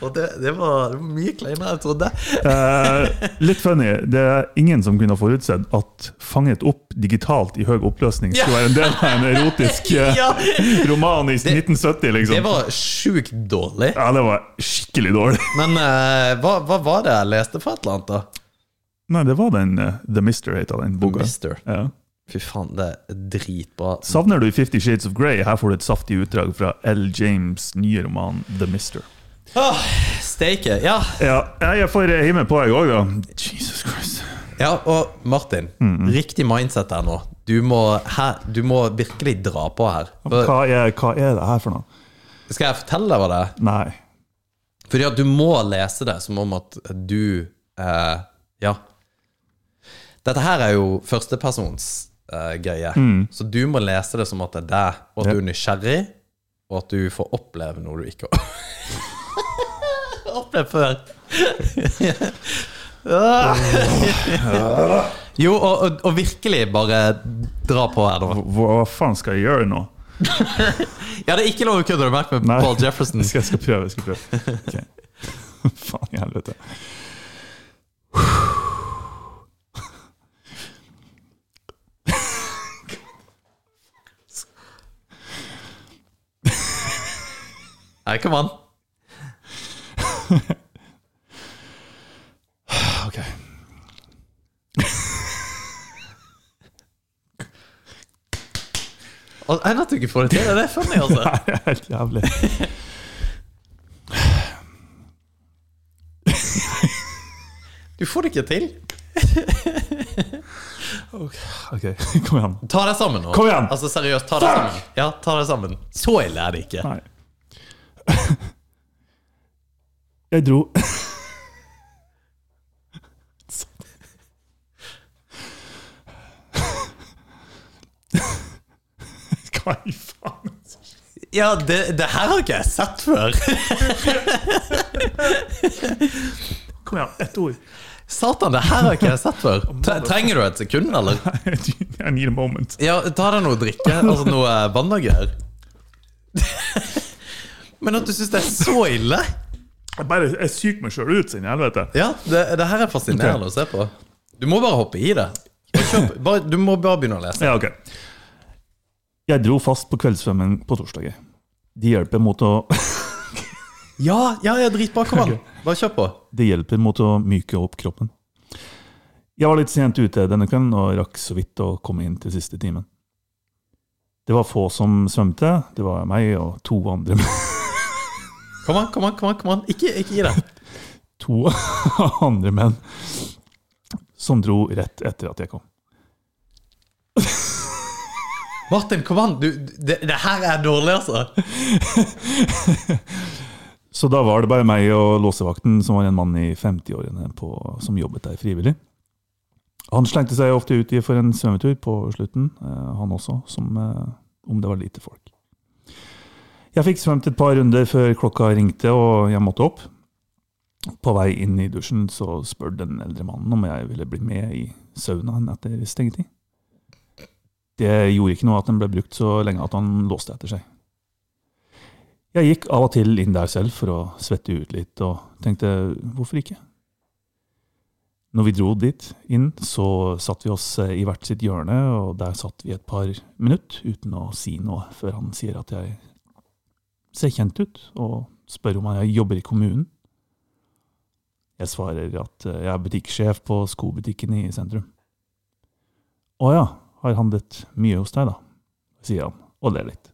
Speaker 3: Og det, var mye kleinere enn jeg trodde.
Speaker 2: Eh, litt funny. Det er ingen som kunne ha forutsett at 'Fanget opp digitalt i høy oppløsning' skulle være en del av en erotisk eh,
Speaker 3: Ja.
Speaker 2: roman i 1970, liksom.
Speaker 3: Det var sjukt dårlig.
Speaker 2: ja, det var skikkelig dårlig.
Speaker 3: Men eh, hva, hva var det jeg leste for et eller annet, da?
Speaker 2: Nei, det var den eh, The Mister, het den boka.
Speaker 3: Mister.
Speaker 2: Ja.
Speaker 3: Fy faen, det er dritbra.
Speaker 2: Savner du Fifty Shades of Grey? Her får du et saftig utdrag fra L. James' nye roman The Mister.
Speaker 3: Åh, Steike. Ja.
Speaker 2: Ja, jeg får hive meg på, jeg òg, da. Jesus Christ.
Speaker 3: ja, og Martin. Riktig mindset her nå. Du må, her, du må virkelig dra på her. For,
Speaker 2: Hva er, hva er det her for noe?
Speaker 3: skal jeg fortelle deg hva det er?
Speaker 2: Nei.
Speaker 3: Fordi at du må lese det som om at du eh, Ja. Dette her er jo førstepersons eh, greie, så du må lese det som at det er deg, og at du er nysgjerrig, og at du får oppleve noe du ikke har opplevd før. Ah. jo, og, og, og virkelig bare dra på her nå.
Speaker 2: Hva, hva faen skal jeg gjøre nå?
Speaker 3: Ja, det er ikke lov å kødde, har du merket med
Speaker 2: Nei.
Speaker 3: Paul Jefferson.
Speaker 2: Jeg skal, jeg skal prøve. Jeg skal prøve. Ok. Faen i helvete.
Speaker 3: Nei, kom an.
Speaker 2: Ok.
Speaker 3: Og- Nei, at du ikke får det til. Det er funny, altså.
Speaker 2: Nei, det er helt jævlig.
Speaker 3: Du får det ikke til.
Speaker 2: Ok, kom igjen.
Speaker 3: Ta deg sammen nå.
Speaker 2: Kom igjen.
Speaker 3: Altså seriøst, ta deg sammen. Ja, ta deg sammen. Så ille er det ikke.
Speaker 2: Nei. Jeg dro Hva i faen?
Speaker 3: Ja, det, det her har ikke jeg sett før.
Speaker 2: Kom igjen, ett ord.
Speaker 3: Satan, det her har ikke jeg sett før. Tre- Trenger du et sekund, eller?
Speaker 2: I need a moment.
Speaker 3: Ja, ta deg noe å drikke. Altså noe vann og greier. Men at du syns det er så ille?
Speaker 2: Jeg bare jeg syker meg sjøl ut, sin helvete.
Speaker 3: Ja, det, det her er fascinerende å se på. Du må bare hoppe i det. Bare kjøp, bare, du må bare begynne å lese.
Speaker 2: Ja, ok. Jeg dro fast på kveldssvømmen på torsdager. Det hjelper mot å,
Speaker 3: Ja, ja, jeg er dritbra. Kom an. Bare kjør på.
Speaker 2: det hjelper mot å myke opp kroppen. Jeg var litt sent ute denne kvelden og rakk så vidt å komme inn til siste timen. Det var få som svømte. Det var meg og to andre
Speaker 3: Kom an, kom an. kom an, kom an. Ikke, ikke gi deg.
Speaker 2: to andre menn som dro rett etter at jeg kom.
Speaker 3: Martin, kom an! Du, det, det her er dårlig, altså.
Speaker 2: Så da var det bare meg og låsevakten, som var en mann i 50-årene på- som jobbet der frivillig. Han slengte seg ofte ut i for en svømmetur på slutten, eh, han også, som, eh, om det var lite folk. Jeg fikk svømt et par runder før klokka ringte og jeg måtte opp. På vei inn i dusjen så spør den eldre mannen om jeg ville bli med i saunaen etter stengetid. Det gjorde ikke noe at den ble brukt så lenge at han låste etter seg. Jeg gikk av og til inn der selv for å svette ut litt, og tenkte hvorfor ikke? Når vi dro dit inn, så satt vi oss eh, i hvert sitt hjørne, og der satt vi et par minutt uten å si noe, før han sier at jeg ser kjent ut, og spør om jeg jobber i kommunen. Jeg svarer at eh, jeg er butikksjef på skobutikken i sentrum. Å ja, har handlet mye hos deg, da, sier han, og ler litt.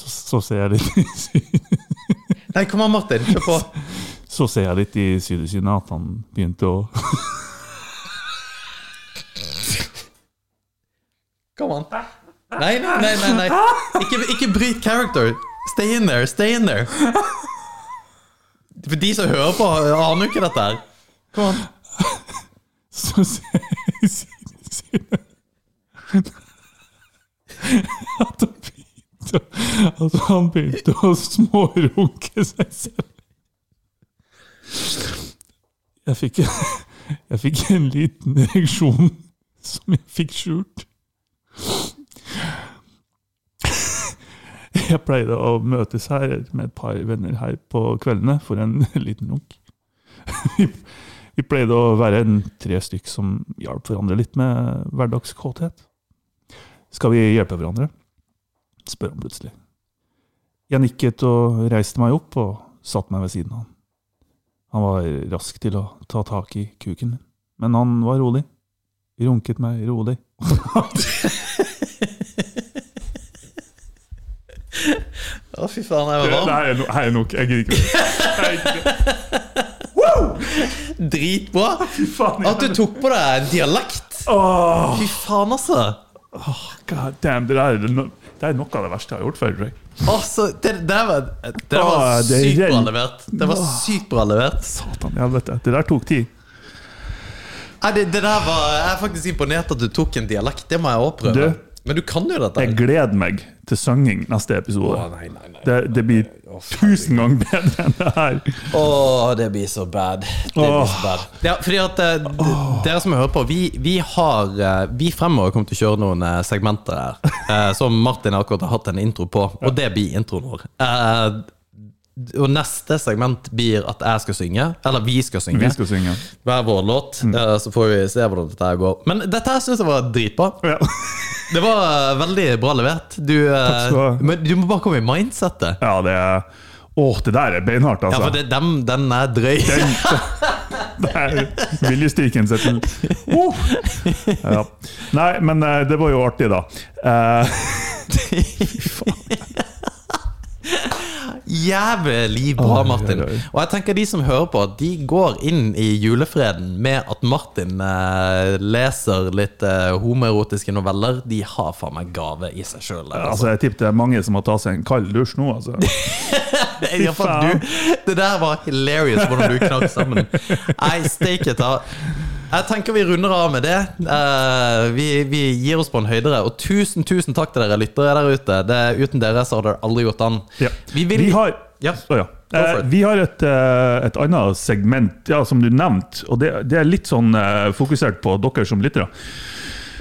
Speaker 2: Så, så ser jeg litt i sy-
Speaker 3: Nei, kom an, Martin. Kjør på.
Speaker 2: Så ser jeg litt i sydesynet at han begynte å
Speaker 3: Kom an. Nei, nei, nei. nei, nei. Ikke, ikke bryt character. Stay in there, stay in there. For de som hører på, aner jo ikke dette her. Kom an.
Speaker 2: Så ser jeg i sydesynet At han begynte At han begynte å smårunke seg selv. Jeg fikk, jeg fikk en liten reaksjon som jeg fikk skjult. Jeg pleide å møtes her med et par venner her på kveldene for en liten runk. Vi vi pleide å være en tre stykk som hjalp hverandre litt med hverdagskåthet. Skal vi hjelpe hverandre? spør han plutselig. Jeg nikket og reiste meg opp og satte meg ved siden av han.
Speaker 4: Han var rask til å ta tak i kuken min, men han var rolig. Runket meg rolig.
Speaker 3: Å, fy faen, jeg
Speaker 2: Det
Speaker 3: var varm.
Speaker 2: her er no- her er nok. Jeg gidder ikke. Jeg gidder ikke.
Speaker 3: Dritbra!
Speaker 2: Fy faen.
Speaker 3: At du tok på deg dialekt!
Speaker 2: Åh,
Speaker 3: Fy faen, altså!
Speaker 2: god damn, det, der, er no- det er noe av det verste jeg har gjort før. tror jeg.
Speaker 3: Altså, det, det der var, det der
Speaker 2: Åh,
Speaker 3: var
Speaker 2: Ah, det
Speaker 3: sykt bra
Speaker 2: renn-
Speaker 3: levert. Det var sykt bra levert.
Speaker 2: Satan i helvete. Det der tok tid.
Speaker 3: Nei, det, det der var, jeg er faktisk imponert at du tok en dialekt. Det må jeg òg prøve.
Speaker 2: Du.
Speaker 3: Men du kan jo dette.
Speaker 2: Jeg gleder meg til sanging neste episode.
Speaker 3: Å, nei, nei, nei.
Speaker 2: Det, det blir tusen ganger bedre enn det her.
Speaker 3: Å, det blir så bad. Det blir så
Speaker 2: Åh.
Speaker 3: bad. Ja, fordi at eh, d- Dere som hører på, vi, vi har eh, Vi fremover kommer til å kjøre noen eh, segmenter her eh, som Martin akkurat har hatt en intro på, og det blir introen vår. Eh, d- og neste segment blir at jeg skal synge, eller vi skal synge,
Speaker 2: Vi skal Mm. synge.
Speaker 3: hver vår låt. eh, så får vi se hvordan dette her går. Men dette her syns jeg var dritbra.
Speaker 2: Ja.
Speaker 3: Det var eh, veldig bra levert. Du, eh,
Speaker 2: skal du ha.
Speaker 3: men du må bare komme i mindsettet.
Speaker 2: ja, det er Åh, det der er beinhardt,
Speaker 3: Ja,
Speaker 2: altså.
Speaker 3: for det, dem, den er drøy.
Speaker 2: Det er viljestyrken sin til oh. ja. Nei, men eh, det var jo artig, da. Eh,
Speaker 3: Jævlig bra,
Speaker 2: Oi,
Speaker 3: Martin.
Speaker 2: oi, oi.
Speaker 3: Og jeg tenker de som hører på, de går inn i julefreden med at Martin eh, leser litt eh, homoerotiske noveller. De har faen meg gave i seg sjøl. Altså.
Speaker 2: altså, jeg tipper det er mange som har tatt seg en kald dusj nå, altså.
Speaker 3: I hvert fall
Speaker 2: faen.
Speaker 3: du. Det der var hilarious, hvordan du knakk sammen. Nei, steike ta. Jeg tenker vi runder av med det. Eh, vi, vi gir oss på en høydere. Og tusen, tusen takk til dere lyttere der ute. Det, uten dere så hadde det aldri gått an.
Speaker 2: Ja.
Speaker 3: Vi vil
Speaker 2: har
Speaker 3: Ja.
Speaker 2: Å, ja.
Speaker 3: Go for
Speaker 2: Eh,
Speaker 3: it.
Speaker 2: vi har et, eh, et annet segment ja, som du nevnte, og det, det er litt sånn eh, fokusert på dere som lyttere.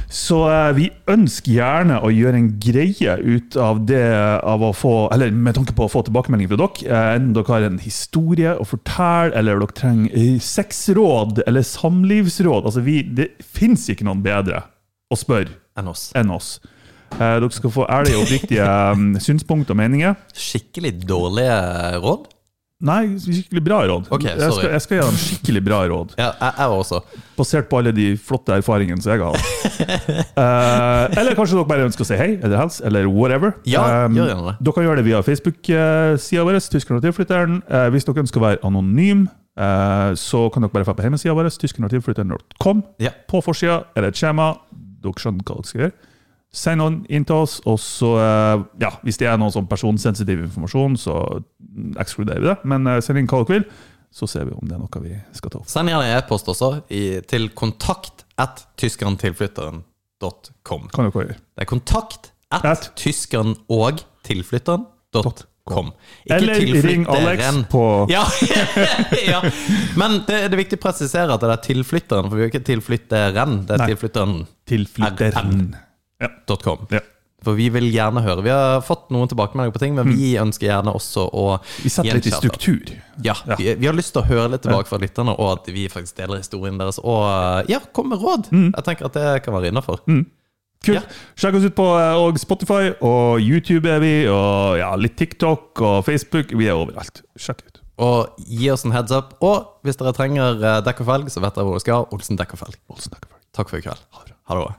Speaker 2: Så eh, vi ønsker gjerne å gjøre en greie ut av det eh, av å få, eller med tanke på å få tilbakemelding fra dere. eh, Enten dere har en historie å fortelle, eller dere trenger eh, sexråd eller samlivsråd. Altså, vi, det fins ikke noen bedre å spørre
Speaker 3: enn oss.
Speaker 2: enn oss. Eh, dere skal få ærlige og oppriktige um, synspunkt og meninger.
Speaker 3: Skikkelig dårlige råd?
Speaker 2: Nei, skikkelig bra råd.
Speaker 3: Ok,
Speaker 2: jeg,
Speaker 3: sorry.
Speaker 2: skal, jeg skal gi dem skikkelig bra råd,
Speaker 3: Ja, jeg, jeg også.
Speaker 2: basert på alle de flotte erfaringene som jeg har hatt. Eh, eller kanskje dere bare ønsker å si hei, eller hels, eller whatever.
Speaker 3: Ja,
Speaker 2: Um,
Speaker 3: gjør gjerne det.
Speaker 2: Dere kan gjøre det via Facebook-sida vår, Tyskeren og tilflytteren. Eh, hvis dere ønsker å være anonym, eh, så kan dere bare dra på hjemmesida vår, tyskerenogtilflytteren.com.
Speaker 3: Ja.
Speaker 2: På forsida er det et skjema. Dere skjønner hva dere skal gjøre. Send noen inn til oss, og så eh, Ja, hvis det er noe sånn personsensitiv informasjon, så ekskluderer vi det. Men eh, send inn hva dere vil, så ser vi om det er noe vi skal ta opp.
Speaker 3: Send gjerne e-post også i, til kontakt at tyskerentilflytteren.com.
Speaker 2: Kan dere gjøre.
Speaker 3: Det er kontakt at
Speaker 2: At.
Speaker 3: tyskeren og tilflytteren.com.
Speaker 2: Eller ring Alex på
Speaker 3: ja, ja. Men det, det er viktig å presisere at det er tilflytteren, for vi er ikke tilflytteren. Det er
Speaker 2: Nei.
Speaker 3: tilflytteren.com.
Speaker 2: tilflytteren. Ja. ja.
Speaker 3: For vi vil gjerne høre. Vi har fått noen tilbakemeldinger på ting, men vi ønsker gjerne også å
Speaker 2: Mm. Vi setter litt i
Speaker 3: gjenkjenne.
Speaker 2: struktur.
Speaker 3: Ja, vi, vi har lyst til å høre litt tilbake fra lytterne, og at vi faktisk deler historien deres. Og eh, ja, kom med råd! Jeg tenker at det kan være innafor.
Speaker 2: Kult. Sjekk oss ut på eh, og Spotify, og YouTube er vi, og ja, litt TikTok og Facebook. Vi er overalt. Sjekk ut.
Speaker 3: Og gi oss en heads up. Og hvis dere trenger eh, dekk og felg, så vet dere hvor dere skal. Olsen dekk og felg.
Speaker 2: Olsen Dekkerberg.
Speaker 3: Takk for i kveld. Ha det bra.